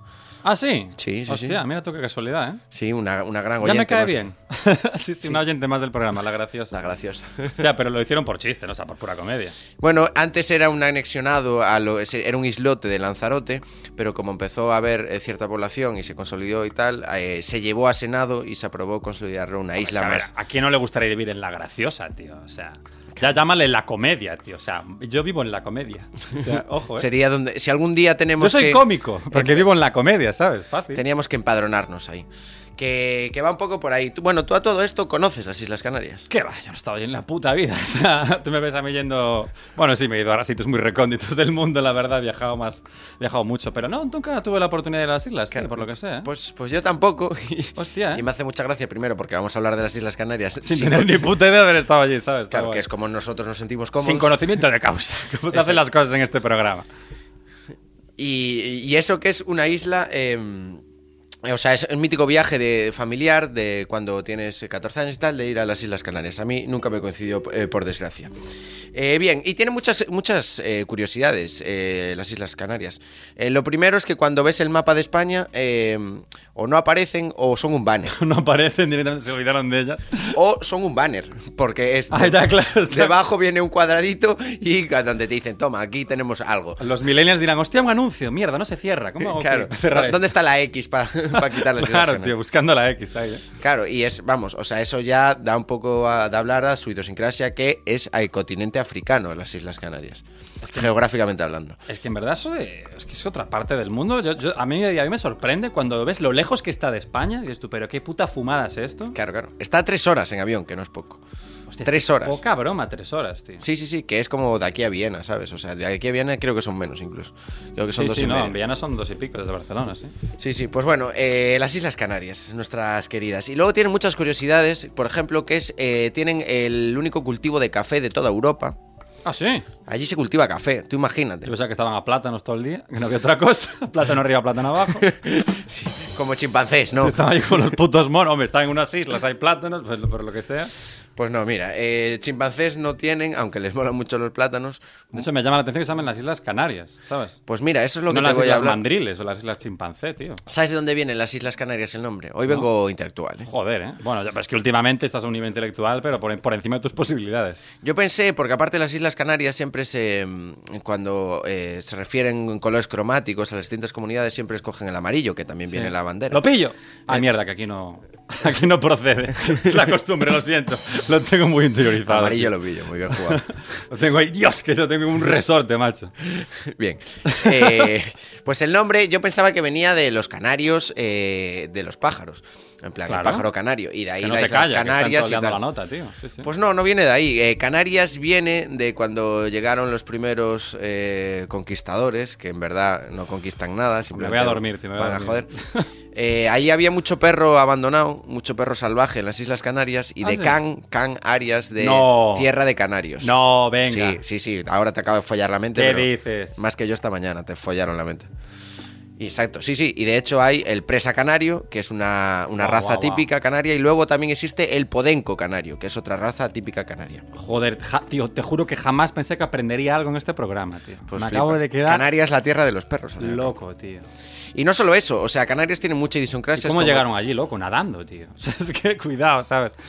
Ah, sí. Sí, sí, Hostia, sí. mira tú qué casualidad, ¿eh? Sí, una, una gran Ya me oyente cae nuestra. bien. sí, sí, una oyente más del programa, la graciosa. La Graciosa. Hostia, pero lo hicieron por chiste, ¿no? O sea, por pura comedia. Bueno, antes era un anexionado, a lo, ese- era un islote de Lanzarote, pero como empezó a haber eh, cierta población y se consolidó y tal, eh, se llevó a Senado y se aprobó consolidarlo una O sea, isla a, ver, más. ¿a quién no le gustaría vivir en la graciosa, tío? O sea, ya llámale la comedia, tío. O sea, yo vivo en la comedia. O sea, ojo, ¿eh? Sería donde, si algún día tenemos Yo soy que- cómico, ¿eh? porque vivo en la comedia, ¿sabes? Fácil. Teníamos que empadronarnos ahí. Que, que va un poco por ahí. Tú- bueno, tú a todo esto conoces las Islas Canarias. ¿Qué va? Yo no he estado ahí en la puta vida. O sea, tú me ves a mí yendo. Bueno, sí, me he ido a sitios muy recónditos del mundo, la verdad. He viajado más. He viajado mucho, pero no, nunca tuve la oportunidad de ir a las islas, tío, por lo que sé. ¿eh? Pues, pues yo tampoco. Hostia, ¿eh? Y me hace mucha gracia primero porque vamos a hablar de las Islas Canarias. Sin Sí, tener ni puta idea de haber estado allí, ¿sabes? Está Claro, que guay. es como nosotros nos sentimos cómodos. Sin conocimiento de causa. ¿Cómo se hacen las cosas en este programa? Y, y eso que es una isla. eh, o sea, es un mítico viaje de familiar de cuando tienes 14 años y tal, de ir a las Islas Canarias. A mí nunca me coincidió, eh, por desgracia. Eh, bien, y tiene muchas, muchas eh, curiosidades eh, las Islas Canarias. Eh, lo primero es que cuando ves el mapa de España, eh, o no aparecen o son un banner. No aparecen directamente, se olvidaron de ellas. O son un banner, porque es. Ah, ya, claro, está. Debajo viene un cuadradito y donde te dicen, toma, aquí tenemos algo. Los millennials dirán, hostia, un anuncio, mierda, no se cierra. ¿Cómo hago Claro. para cerrar ¿Dónde esto? está la X para quitar las Claro, Islas Canarias? tío, buscando la X ahí, ¿eh? Claro, y es, vamos, o sea, eso ya da un poco a, de hablar a su idiosincrasia, que es al continente africano, las Islas Canarias, geográficamente hablando. Es que en verdad eso eh, es que es otra parte del mundo. Yo- yo- a, mí, a mí me sorprende cuando ves lo lejos que está de España. Dices tú, pero qué puta fumada es esto. Claro, claro. Está a tres horas en avión, que no es poco. Hostia, es tres que horas. Poca broma, tres horas, tío. Sí, sí, sí, que es como de aquí a Viena, ¿sabes? O sea, de aquí a Viena creo que son menos incluso. Creo que son sí, dos sí, y no, media. en Villana son dos y pico desde Barcelona, sí. Sí, sí, pues bueno, eh, las Islas Canarias, nuestras queridas. Y luego tienen muchas curiosidades, por ejemplo, que es, eh, tienen el único cultivo de café de toda Europa. Ah, sí. Allí se cultiva café, tú imagínate. Yo pensaba que estaban a plátanos todo el día, que no que otra cosa. Plátano arriba, plátano abajo. Como chimpancés, ¿no? Estaban ahí con los putos monos. Hombre, están en unas islas, hay plátanos, pues, por lo que sea. Pues no, mira, eh, chimpancés no tienen, aunque les molan mucho los plátanos. De hecho, me llama la atención que están en las Islas Canarias, ¿sabes? Pues mira, eso es lo que no te las voy Islas a hablar. Mandriles o las Islas Chimpancé, tío. ¿Sabes de dónde vienen las Islas Canarias el nombre? Hoy vengo intelectual. ¿eh? Joder, ¿eh? Bueno, ya- pero es que últimamente estás a un nivel intelectual, pero por, por encima de tus posibilidades. Yo pensé, porque aparte las Islas Canarias siempre se. mm, Cuando eh, se refieren en colores cromáticos a las distintas comunidades, siempre escogen el amarillo, que también viene Sí. la bandera. Eh. ¡Lo pillo! Ah, mierda, que aquí no, aquí no procede. Es la costumbre, lo siento. Lo tengo muy interiorizado. amarillo tío. lo pillo, muy bien jugado. Lo tengo ahí. Dios, que yo tengo un resorte, macho. Bien. Eh, pues el nombre yo pensaba que venía de los canarios, eh, de los pájaros. En plan, Claro. el pájaro canario. Y de ahí que no las se Islas calla, que Canarias están y toleando tal. la nota, tío. Sí, sí. Pues no, no viene de ahí. Eh, Canarias viene de cuando llegaron los primeros eh, conquistadores, que en verdad no conquistan nada. simplemente voy a dormir, tío, me voy a van dormir. joder. Eh, ahí había mucho perro abandonado, mucho perro salvaje en las Islas Canarias y Ah, de sí. Can, Can Arias de No. Tierra de Canarios. No, venga. Sí, sí, sí. Ahora te acabo de follar la mente. ¿Qué pero dices? Más que yo esta mañana te follaron la mente. Exacto, sí, sí. Y de hecho hay el presa canario, que es una, una Guau, raza guau, guau. típica canaria, y luego también existe el podenco canario, que es otra raza típica canaria. Joder, ja- tío, te juro que jamás pensé que aprendería algo en este programa, tío. Pues Me flipa. acabo de quedar Canarias es la tierra de los perros. al fin y al cabo. loco, tío. Y no solo eso, o sea, Canarias tiene mucha ¿Y idiosincrasia. ¿Cómo es como- llegaron allí, loco? Nadando, tío. O sea, es que cuidado, ¿sabes?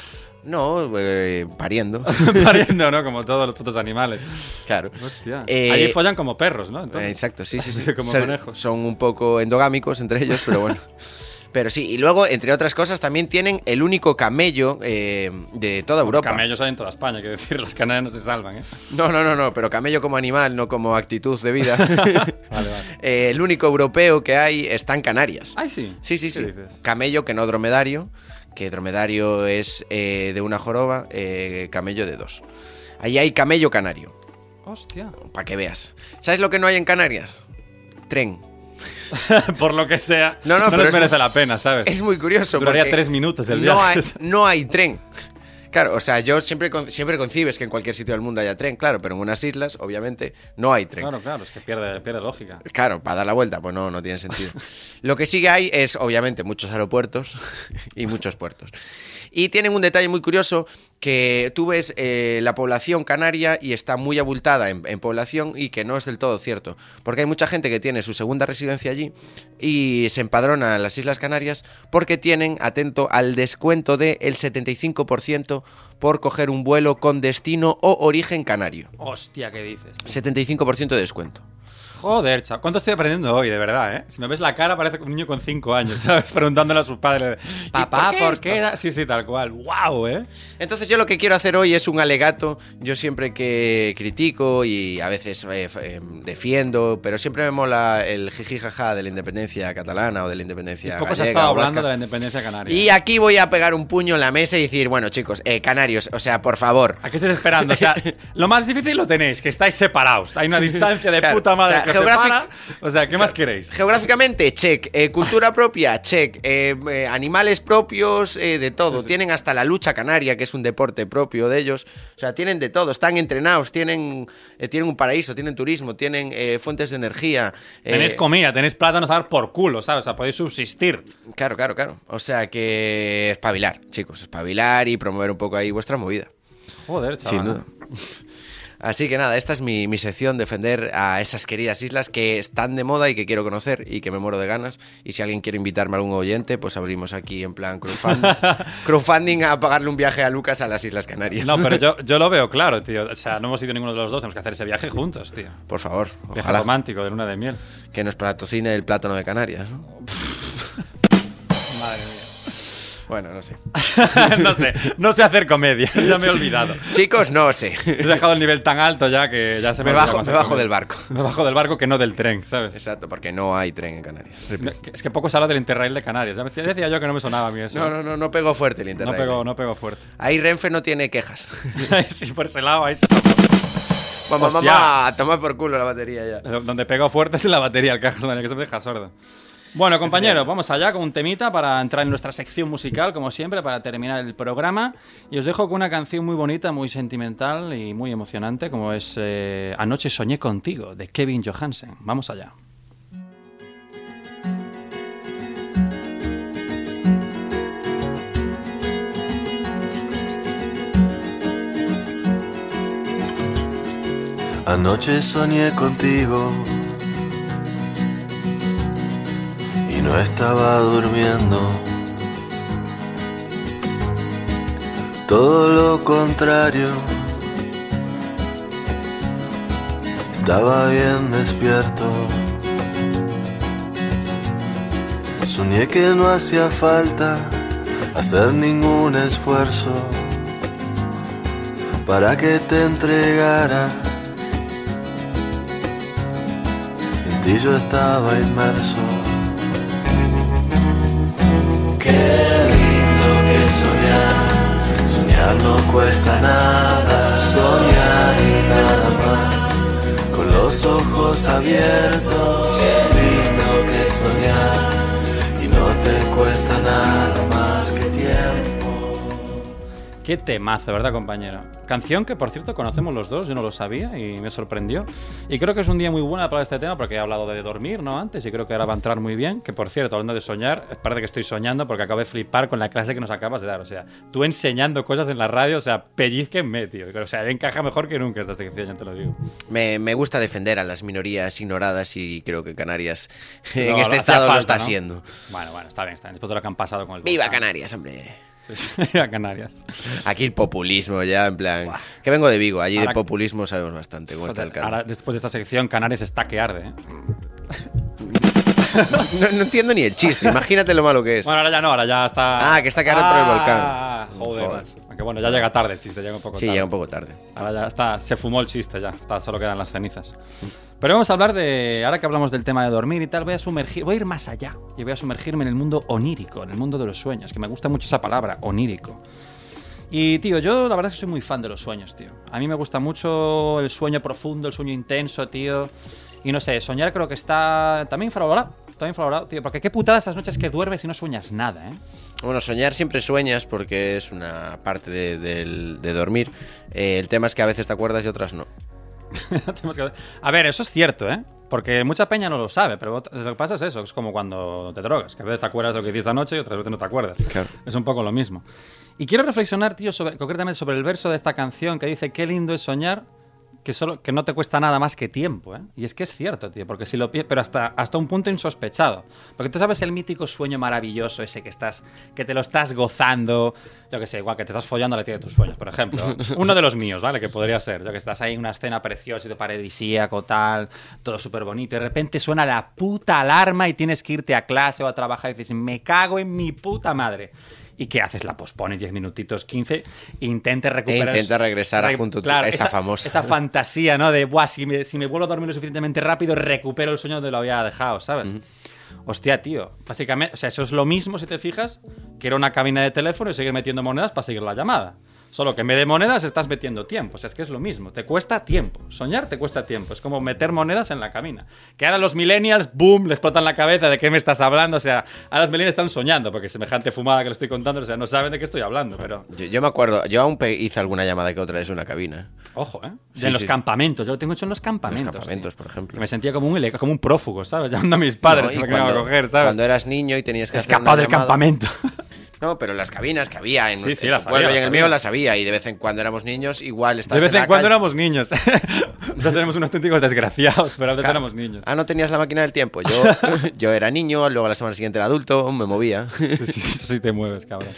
No, eh, pariendo. Pariendo, ¿no? Como todos los putos animales. claro. Hostia. Eh, allí follan como perros, ¿no? Eh, Entonces. Exacto, sí, sí, sí. Como Son- conejos. Son un poco endogámicos entre ellos, pero bueno. Pero sí, y luego, entre otras cosas, también tienen el único camello eh, de toda Europa. Camellos hay en toda España, quiero decir, las canarias no se salvan, ¿eh? No, no, no, no, pero camello como animal, no como actitud de vida. Vale, vale. Eh, el único europeo que hay está en Canarias. Ay, sí. Sí, sí, ¿Qué sí. dices? Camello que no dromedario, que dromedario es eh, de una joroba, eh, camello de dos. Ahí hay camello canario, Hostia. para que veas. ¿Sabes lo que no hay en Canarias? Tren. por lo que sea, No, no, no, pero les es merece muy- la pena, ¿sabes? Es muy curioso. Duraría porque tres minutos el No viaje. hay, no hay tren. Claro, o sea, yo siempre, con- siempre concibes que en cualquier sitio del mundo haya tren, claro, pero en unas islas, obviamente, no hay tren. Claro, claro, es que pierde, pierde lógica. Claro, para dar la vuelta, pues no, no tiene sentido. Lo que sí que hay es, obviamente, muchos aeropuertos y muchos puertos. Y tienen un detalle muy curioso, que tú ves eh, la población canaria y está muy abultada en, en población y que no es del todo cierto. Porque hay mucha gente que tiene su segunda residencia allí y se empadrona en las Islas Canarias porque tienen, atento, al descuento del 75% por coger un vuelo con destino o origen canario. Hostia, ¿qué dices? 75% de descuento. Joder, chaval. ¿Cuánto estoy aprendiendo hoy, de verdad, eh? Si me ves la cara, parece un niño con 5 años, ¿sabes? Preguntándole a su padre, papá, por qué ¿por esto? qué? da-?" Sí, sí, tal cual. ¡Wow, eh! Entonces yo lo que quiero hacer hoy es un alegato. Yo siempre que critico y a veces eh, f- eh, defiendo, pero siempre me mola el jiji jaja de la independencia catalana o de Y la independencia poco se ha gallega estado o hablando vasca. de la independencia canaria. Y aquí voy a pegar un puño en la mesa y decir, bueno chicos, eh, canarios, o sea, por favor. ¿A qué estáis esperando? O sea, lo más difícil lo tenéis, que estáis separados. Hay una distancia de Claro, puta madre o sea, que os geográfic- separa. O sea, ¿qué más queréis? Geográficamente, check. Eh, cultura propia, check. Eh, eh, animales propios, eh, de todo. Tienen hasta la lucha canaria, que es un deporte propio de ellos. O sea, tienen de todo. Están entrenados, tienen, eh, tienen un paraíso, tienen turismo, tienen eh, fuentes de energía. eh, Tenéis comida, tenéis plátanos a dar por culo, ¿sabes? O sea, podéis subsistir. Claro, claro, claro. O sea que espabilar, chicos. Espabilar y promover un poco ahí vuestra movida. Joder, chaval. Sin duda. Así que nada, esta es mi, mi sección, defender a esas queridas islas que están de moda y que quiero conocer y que me muero de ganas. Y si alguien quiere invitarme a algún oyente, pues abrimos aquí en plan crowdfunding, crowdfunding a pagarle un viaje a Lucas a las Islas Canarias. No, pero yo, yo lo veo claro, tío. O sea, no hemos ido ninguno de los dos, tenemos que hacer ese viaje juntos, tío. Por favor, Viaje ojalá romántico de luna de miel. que nos patrocine el plátano de Canarias. ¿no? Madre mía. Bueno, no sé. no sé, no sé hacer comedia, ya me he olvidado. Chicos, no sé. He dejado el nivel tan alto ya que ya se me Me olvida bajo, más me hacer bajo comedia. del barco. Me bajo del barco que no del tren, ¿sabes? Exacto, porque no hay tren en Canarias. Es que poco se habla del Interrail de Canarias. Ya me- decía yo que no me sonaba a mí eso. No, no, no, no pegó fuerte el No internet. ¿eh? pegó, no pegó fuerte. Ahí Renfe no tiene quejas. sí, por ese lado, ahí se- Mamá, Hostia. mamá, toma por culo la batería ya. Donde pegó fuerte es en la batería, el cajas, madre, que se me deja sordo. Bueno, compañeros, vamos allá con un temita para entrar en nuestra sección musical, como siempre, para terminar el programa. Y os dejo con una canción muy bonita, muy sentimental y muy emocionante, como es eh, Anoche soñé contigo, de Kevin Johansen. Vamos allá. Anoche soñé contigo y no estaba durmiendo. Todo lo contrario, estaba bien despierto. Soñé que no hacía falta hacer ningún esfuerzo para que te entregaras. en ti yo estaba inmerso. Qué lindo que soñar, soñar no cuesta nada, soñar y nada más, con los ojos abiertos. Qué lindo que soñar, y no te cuesta nada más que tiempo. Qué temazo, ¿verdad, compañero? Canción que, por cierto, conocemos los dos, yo no lo sabía y me sorprendió. Y creo que es un día muy bueno para este tema porque he hablado de dormir, ¿no? Antes y creo que ahora va a entrar muy bien. Que, por cierto, hablando de soñar, parece que estoy soñando porque acabo de flipar con la clase que nos acabas de dar. O sea, tú enseñando cosas en la radio, o sea, pellizquenme, tío. O sea, encaja mejor que nunca esta sección, ya te lo digo. Me, me gusta defender a las minorías ignoradas y creo que Canarias No, en no este hacía estado lo falta, está ¿no? haciendo. Bueno, bueno, está bien, está bien. Después de lo que han pasado con el... ¡Viva volcán. Canarias, hombre! Sí, sí, viva Canarias. Aquí el populismo ya, en plan... Que vengo de Vigo, allí Ahora- de populismo sabemos bastante cómo está el Joder, caldo. ahora, después de esta sección, Canarias está que arde, ¿eh? No, no entiendo ni el chiste, imagínate lo malo que es. Bueno, ahora ya no, ahora ya está. Pues- Ah, Ah, que está quedando por el volcán. Joder, Joder. macho. Aunque bueno, ya llega tarde el chiste, llega un poco sí, tarde. llega un poco tarde. Ahora ya está, se fumó el chiste ya, está, solo quedan las cenizas. Pero vamos a hablar de, ahora que hablamos del tema de dormir y tal, voy a sumergir, voy a ir más allá y voy a sumergirme en el mundo onírico, en el mundo de los sueños, que me gusta mucho esa palabra, onírico. Y tío, yo la verdad es que soy muy fan de los sueños, tío. A mí me gusta mucho el sueño profundo, el sueño intenso, tío. Y no sé, soñar creo que está también infravalorado. Está infravalorado, tío. Porque qué putada esas noches que duermes y no sueñas nada, ¿eh? Bueno, soñar siempre sueñas porque es una parte de, del- de dormir. Eh, el tema es que a veces te acuerdas y otras no. Tenemos que- A ver, eso es cierto, ¿eh? Porque mucha peña no lo sabe, pero ot- lo que pasa es eso, es como cuando te drogas, que a veces te acuerdas de lo que hiciste anoche y otras veces no te acuerdas. Claro. Es un poco lo mismo. Y quiero reflexionar, tío, sobre, concretamente sobre el verso de esta canción que dice, qué lindo es soñar, que, solo, que no te cuesta nada más que tiempo, ¿eh? Y es que es cierto, tío, porque si lo pi- pero hasta, hasta un punto insospechado. Porque tú sabes el mítico sueño maravilloso ese que estás, que te lo estás gozando, yo que sé, igual que te estás follando a la tía de tus sueños, por ejemplo. Uno de los míos, ¿vale? Que podría ser, yo que estás ahí en una escena preciosa, y te paradisíaco, tal, todo súper bonito, y de repente suena la puta alarma y tienes que irte a clase o a trabajar y dices, me cago en mi puta madre. ¿Y qué haces? La pospones 10 minutitos, 15, e intentes recuperar... intenta regresar a junto a tu- a esa famosa. Esa fantasía, ¿no? De, buah, si me, si me vuelvo a dormir lo suficientemente rápido, recupero el sueño donde lo había dejado, ¿sabes? Hostia, tío. Básicamente, o sea, eso es lo mismo, si te fijas, que era una cabina de teléfono y seguir metiendo monedas para seguir la llamada. Solo que en vez de monedas estás metiendo tiempo. O sea, es que es lo mismo. Te cuesta tiempo. Soñar te cuesta tiempo. Es como meter monedas en la cabina. Que ahora los millennials, boom, les explotan la cabeza de qué me estás hablando. O sea, ahora los millennials están soñando porque semejante fumada que les estoy contando, o sea, no saben de qué estoy hablando, pero... Yo, yo me acuerdo, yo aún pe- hice alguna llamada que otra vez en una cabina. Ojo, ¿eh? Sí, en los sí. campamentos. Yo lo tengo hecho en los campamentos. campamentos, tío. por ejemplo. Que me sentía como un, ele- como un prófugo, ¿sabes? Llamando a mis padres No, y y me iban a coger, ¿sabes? cuando eras niño y tenías que hacer una Escapado del llamada- campamento. No, pero las cabinas que había en, Sí, sí, en las tu pueblo había, y en las el mío había. las había y de vez en cuando éramos niños igual estabas De vez la en cuando calle. éramos niños. Entonces éramos unos auténticos desgraciados, pero a veces éramos niños. Ah, no tenías la máquina del tiempo. Yo, yo era niño, luego la semana siguiente era adulto, me movía. Sí, sí, eso sí te mueves, cabrón.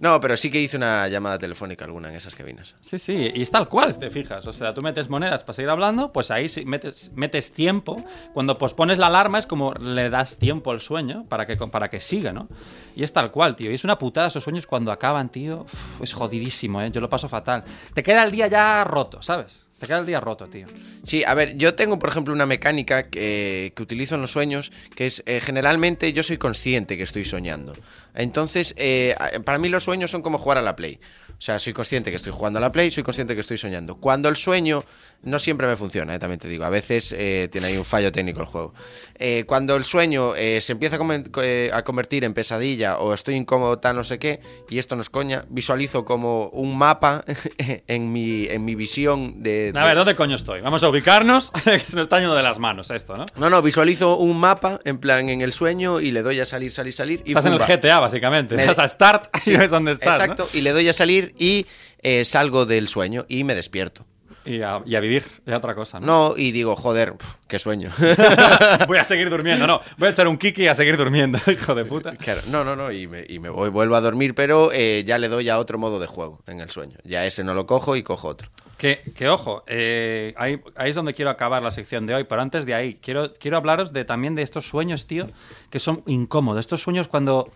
No, pero sí que hice una llamada telefónica alguna en esas cabinas. Sí, sí, y es tal cual, te fijas. O sea, tú metes monedas para seguir hablando, pues ahí sí metes, metes tiempo. Cuando pospones la alarma es como le das tiempo al sueño para que, para que siga, ¿no? Y es tal cual, tío. Y es una putada esos sueños cuando acaban, tío. Uf, es jodidísimo, ¿eh? Yo lo paso fatal. Te queda el día ya roto, ¿sabes? Te queda el día roto, tío. Sí, a ver, yo tengo, por ejemplo, una mecánica que, que utilizo en los sueños, que es eh, generalmente yo soy consciente que estoy soñando. Entonces, eh, a- para mí los sueños son como jugar a la Play. O sea, soy consciente que estoy jugando a la Play, soy consciente que estoy soñando. Cuando el sueño no siempre me funciona, eh, también te digo, a veces eh, tiene ahí un fallo técnico el juego. Eh, cuando el sueño eh, se empieza a, comen- co- eh, a convertir en pesadilla o estoy incómodo, tal, no sé qué, y esto nos coña, visualizo como un mapa en, mi, en mi visión de... A de- ver, ¿dónde coño estoy? Vamos a ubicarnos. Nos está yendo de las manos esto, ¿no? No, no, visualizo un mapa en plan en el sueño y le doy a salir, salir, salir. Y Estás en el ¡pumba! GTA, básicamente. Me- Vas a Start y ves dónde estás. ¿no? Exacto, y le doy a salir y eh, salgo del sueño y me despierto. Y a, y a vivir, es otra cosa. ¿no? No, y digo, joder, pf, qué sueño. voy a seguir durmiendo, no. Voy a echar un kiki y a seguir durmiendo, hijo de puta. Claro, no, no, no, y me, y me voy, vuelvo a dormir, pero eh, ya le doy a otro modo de juego en el sueño. Ya ese no lo cojo y cojo otro. Que, que ojo, eh, ahí, ahí es donde quiero acabar la sección de hoy, pero antes de ahí, quiero, quiero hablaros de, también de estos sueños, tío, que son incómodos. Estos sueños cuando,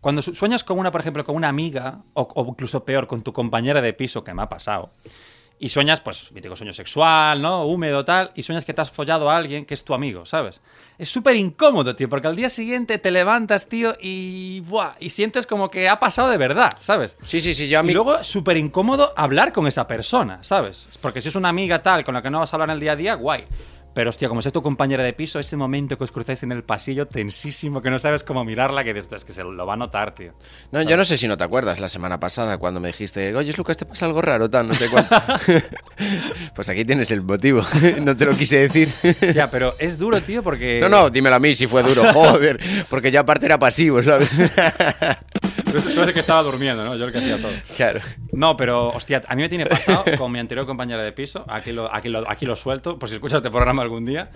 cuando su- sueñas con una, por ejemplo, con una amiga, o, o incluso peor, con tu compañera de piso, que me ha pasado. Y sueñas, pues, mítico sueño sexual, ¿no? Húmedo, tal. Y sueñas que te has follado a alguien que es tu amigo, ¿sabes? Es súper incómodo, tío, porque al día siguiente te levantas, tío, y. Buah, y sientes como que ha pasado de verdad, ¿sabes? Sí, sí, sí, yo a mí... Y luego, súper incómodo hablar con esa persona, ¿sabes? Porque si es una amiga tal con la que no vas a hablar en el día a día, guay. Pero, hostia, como es tu compañera de piso, ese momento que os cruzáis en el pasillo tensísimo, que no sabes cómo mirarla, que dices, es que se lo va a notar, tío. No, yo no sé si no te acuerdas la semana pasada cuando me dijiste, oye, Lucas, te pasa algo raro, tal, no sé cuánto. pues aquí tienes el motivo, no te lo quise decir. Ya, pero es duro, tío, porque. No, no, dímelo a mí si fue duro, joder, porque ya aparte era pasivo, ¿sabes? Tú eres- tú eres el que estaba durmiendo, ¿no? Yo el que hacía todo. claro. No, pero, hostia, a mí me tiene pasado con mi anterior compañera de piso, aquí lo, aquí lo, aquí lo suelto, por si escuchas este programa algún día,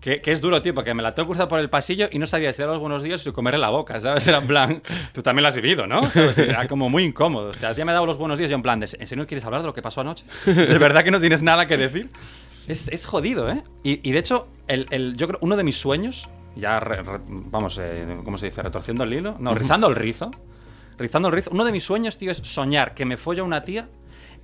que, que es duro, tío, porque me la tengo cruzada por el pasillo y no sabía si dar los buenos días o si comerle la boca, ¿sabes? Era en plan, tú también lo has vivido, ¿no? ¿Sabes? Era como muy incómodo. Hostia, tía me ha dado los buenos días y yo en plan, ¿de- ¿en serio quieres hablar de lo que pasó anoche? ¿De verdad que no tienes nada que decir? Es, es jodido, ¿eh? Y, y de hecho, el, el- yo creo, uno de mis sueños, ya, re- re- vamos, eh, ¿cómo se dice? Retorciendo el hilo, no, rizando el rizo. Rizando el rizo. Uno de mis sueños, tío, es soñar que me folla una tía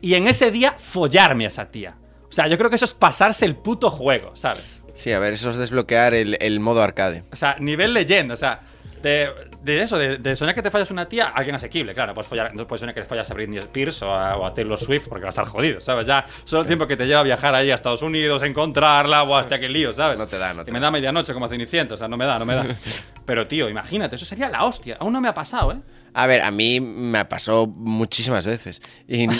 y en ese día follarme a esa tía. O sea, yo creo que eso es pasarse el puto juego, ¿sabes? Sí, a ver, eso es desbloquear el, el modo arcade. O sea, nivel leyenda, o sea, De, de eso, de, de soñar que te fallas una tía, alguien asequible, claro. Puedes follar, no puedes soñar que te fallas a Britney Spears o a, o a Taylor Swift porque va a estar jodido, ¿sabes? Ya solo el tiempo que te lleva a viajar ahí a Estados Unidos, encontrarla o hasta que lío, ¿sabes? No te da, no te Y me da. da medianoche como a Cenicienta, o sea, no me da, no me da. Pero tío, imagínate, eso sería la hostia. Aún no me ha pasado, ¿eh? A ver, a mí me pasó muchísimas veces. Y, y-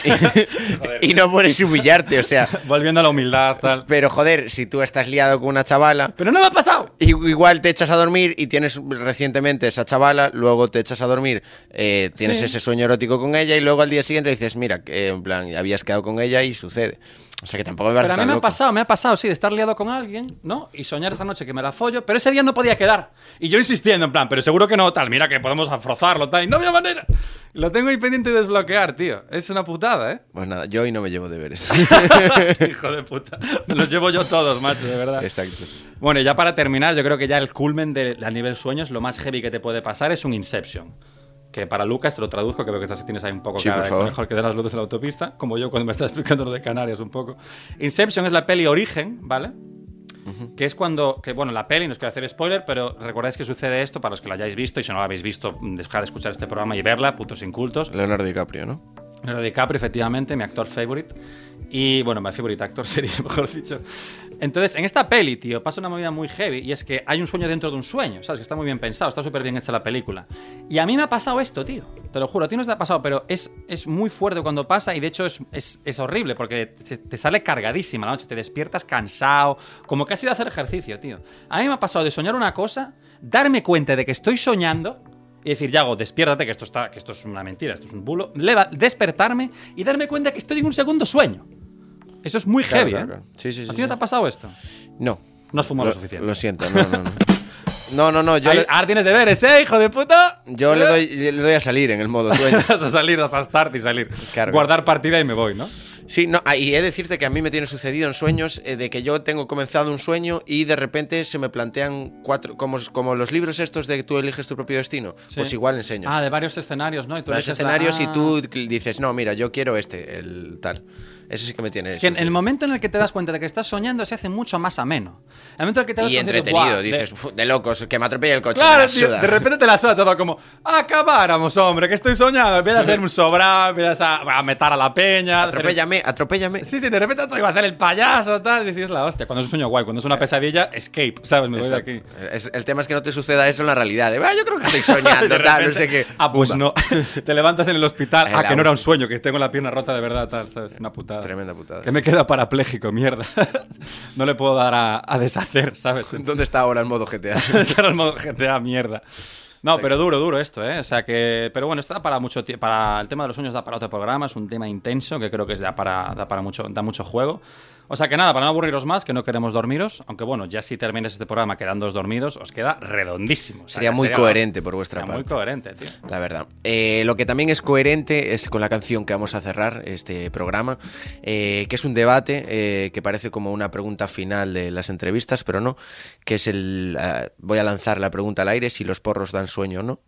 y no puedes humillarte, o sea. Volviendo a la humildad, tal. Pero joder, si tú estás liado con una chavala, Pero no me ha pasado. i- igual te echas a dormir y tienes recientemente esa chavala, luego te echas a dormir, eh, tienes Sí. ese sueño erótico con ella y luego al día siguiente dices, mira, que, en plan, habías quedado con ella y sucede. O sea que tampoco me Pero parece a mí tan me ha loco. pasado, me ha pasado, sí, de estar liado con alguien, ¿no? Y soñar esa noche que me la follo, pero ese día no podía quedar. Y yo insistiendo, en plan, pero seguro que no, tal, mira que podemos afrozarlo, tal, y no había manera. Lo tengo ahí pendiente de desbloquear, tío. Es una putada, ¿eh? Pues nada, yo hoy no me llevo deberes. Hijo de puta. Me los llevo yo todos, macho, de verdad. Exacto. Bueno, y ya para terminar, yo creo que ya el culmen de, a nivel sueños, lo más heavy que te puede pasar es un Inception. Que para Lucas te lo traduzco, que veo que estás- tienes ahí un poco Sí, cara por de favor. mejor que de las luces de la autopista, como yo cuando me estaba explicando lo de Canarias un poco. Inception es la peli Origen, ¿vale? Que es cuando, que bueno, la peli, no os quiero hacer spoiler, pero recordáis que sucede esto para los que la hayáis visto y si no la habéis visto, dejad de escuchar este programa y verla, putos incultos. Leonardo DiCaprio, ¿no? Leonardo DiCaprio, efectivamente, mi actor favorite. Y bueno, mi favorite actor sería, mejor dicho. Entonces, en esta peli, tío, pasa una movida muy heavy y es que hay un sueño dentro de un sueño, ¿sabes? Que está muy bien pensado, está súper bien hecha la película. Y a mí me ha pasado esto, tío. Te lo juro, a ti no te ha pasado, pero es, es muy fuerte cuando pasa y de hecho es, es- es horrible porque te, te sale cargadísima la noche, te despiertas cansado, como que has ido a hacer ejercicio, tío. A mí me ha pasado de soñar una cosa, darme cuenta de que estoy soñando y decir, Yago, despiértate, que esto, está, que esto es una mentira, esto es un bulo. Leva- despertarme y darme cuenta que estoy en un segundo sueño. Eso es muy Claro, heavy, claro, ¿eh? claro. Sí, sí, ¿A sí, ti sí. no te ha pasado esto? No. No has fumado lo, Lo- suficiente. Lo siento, no, no, no. No, no, no, yo, Ahí- le, Ahora tienes deberes, ¿eh, hijo de puta? yo le doy, le doy a salir en el modo sueño. Vas a salir, vas a estar y salir. Claro. Guardar partida y me voy, ¿no? Sí, no, ah, y he de decirte que a mí me tiene sucedido en sueños eh, de que yo tengo comenzado un sueño y de repente se me plantean cuatro, como, como los libros estos de que tú eliges tu propio destino, Sí. pues igual enseños. Ah, de varios escenarios, ¿no? Y tú Los eliges la- escenarios Ah. y tú cl- dices, no, mira, yo quiero este, el tal. Eso sí que me tiene. Es que en el sucedido. momento en el que te das cuenta de que estás soñando se hace mucho más ameno. En el momento en el que te das y cuenta de, entretenido, "Buah, de- dices, "Fu, de... locos, que me atropella el coche. me Claro, la tío, suda". de repente te la suda todo como, acabáramos, hombre, que estoy soñando. Empiezas a hacer un sobrado, empiezas a, a meter a la peña. Atropéllame, atropéllame. Sí, sí, de repente te iba a hacer el payaso, tal. Y sí, es la hostia. Cuando es un sueño guay, cuando es una pesadilla, escape, ¿sabes? Me voy de Exacto. aquí. Es- el tema es que no te suceda eso en la realidad. de, "Ah, yo creo que estoy soñando, De tal, no repente, sé qué. Ah, pues no. te levantas en el hospital. En Ah, la que no era un hostia. sueño, que tengo la pierna rota de verdad, tal, ¿sabes? Una putada. Tremenda putada. Que me queda parapléjico, mierda. no le puedo dar a, a deshacer, ¿sabes? ¿Dónde está ahora el modo GTA? Estar al modo GTA, mierda. No, pero duro, duro esto, ¿eh? O sea que. Pero bueno, está para mucho tiempo. Para el tema de los sueños da para otro programa, es un tema intenso que creo que es- da para, da para mucho, da mucho juego. O sea que nada, para no aburriros más, que no queremos dormiros, aunque bueno, ya si termináis este programa quedándoos dormidos, os queda redondísimo. O sea, Sería que muy coherente por vuestra sería muy parte. coherente, tío. La verdad. Eh, lo que también es coherente es con la canción que vamos a cerrar este programa, eh, que es un debate eh, que parece como una pregunta final de las entrevistas, pero no, que es el... ah, voy a lanzar la pregunta al aire, si los porros dan sueño o no.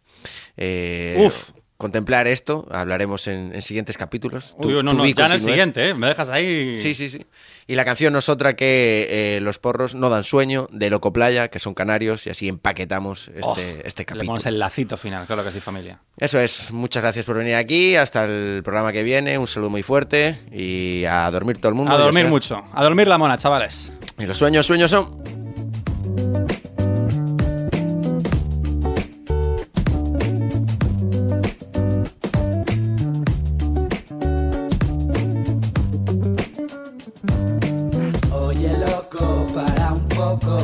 Eh, Uf. Contemplar esto, hablaremos en, en siguientes capítulos. Uy, no, tú no, vi ya en el continúe. siguiente, ¿eh? Me dejas ahí. Sí, sí, sí. Y la canción es otra que eh, los porros no dan sueño, de Loco Playa, que son canarios, y así empaquetamos este, Oh, este Le capítulo. ponemos el lacito final, claro que sí, familia. Eso es, muchas gracias por venir aquí, hasta el programa que viene, un saludo muy fuerte y a dormir todo el mundo. A yo dormir sé. mucho, a dormir la mona, chavales. Y los sueños, sueños son... Oye loco, para un poco.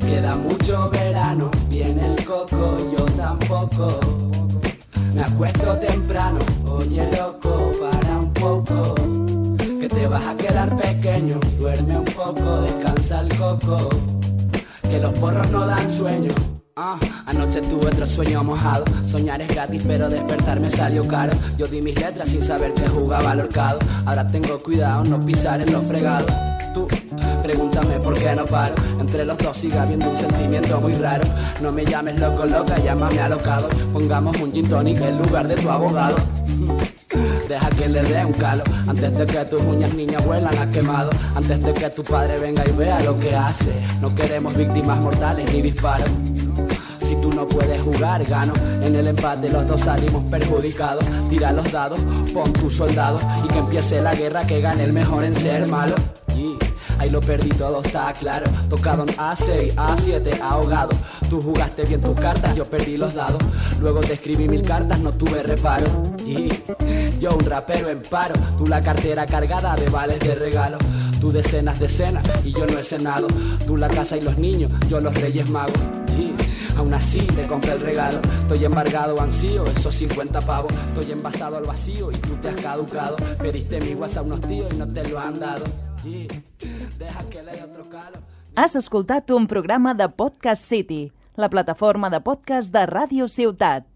Queda mucho verano, viene el coco, yo tampoco. Me acuesto temprano, oye loco, para un poco. Que te vas a quedar pequeño, duerme un poco, descansa el coco. Que los porros no dan sueño. Ah, anoche tuve otro sueño mojado. Soñar es gratis, pero despertarme salió caro. Yo di mis letras sin saber que jugaba al horcado. Ahora tengo cuidado no pisar en los fregados. Tú, pregúntame por qué no paro. Entre los dos sigue habiendo un sentimiento muy raro. No me llames loco, loca, llámame alocado. Pongamos un gin tonic en lugar de tu abogado. Deja que le dé un calo Antes de que tus uñas niñas vuelan a quemado Antes de que tu padre venga y vea lo que hace No queremos víctimas mortales ni disparos Si tú no puedes jugar, gano. En el empate los dos salimos perjudicados. Tira los dados, pon tu soldado y que empiece la guerra, que gane el mejor en ser malo. Yeah. Ahí lo perdí todo, está claro. Tocado en A6, A7, ahogado. Tú jugaste bien tus cartas, yo perdí los dados. Luego te escribí mil cartas, no tuve reparo. Yeah. Yo un rapero en paro, tú la cartera cargada de vales de regalo. Tú decenas de cenas y yo no he cenado. Tú la casa y los niños, yo los reyes magos. Yeah. Aún así te compré el regalo. Estoy embargado, ansío, esos 50 pavos. Estoy envasado al vacío y tú te has caducado. Pediste mi WhatsApp a unos tíos y no te lo han dado. Yeah. Deja que le dé otro calo. Has escoltat un programa de Podcast City, la plataforma de podcast de Ràdio Ciutat.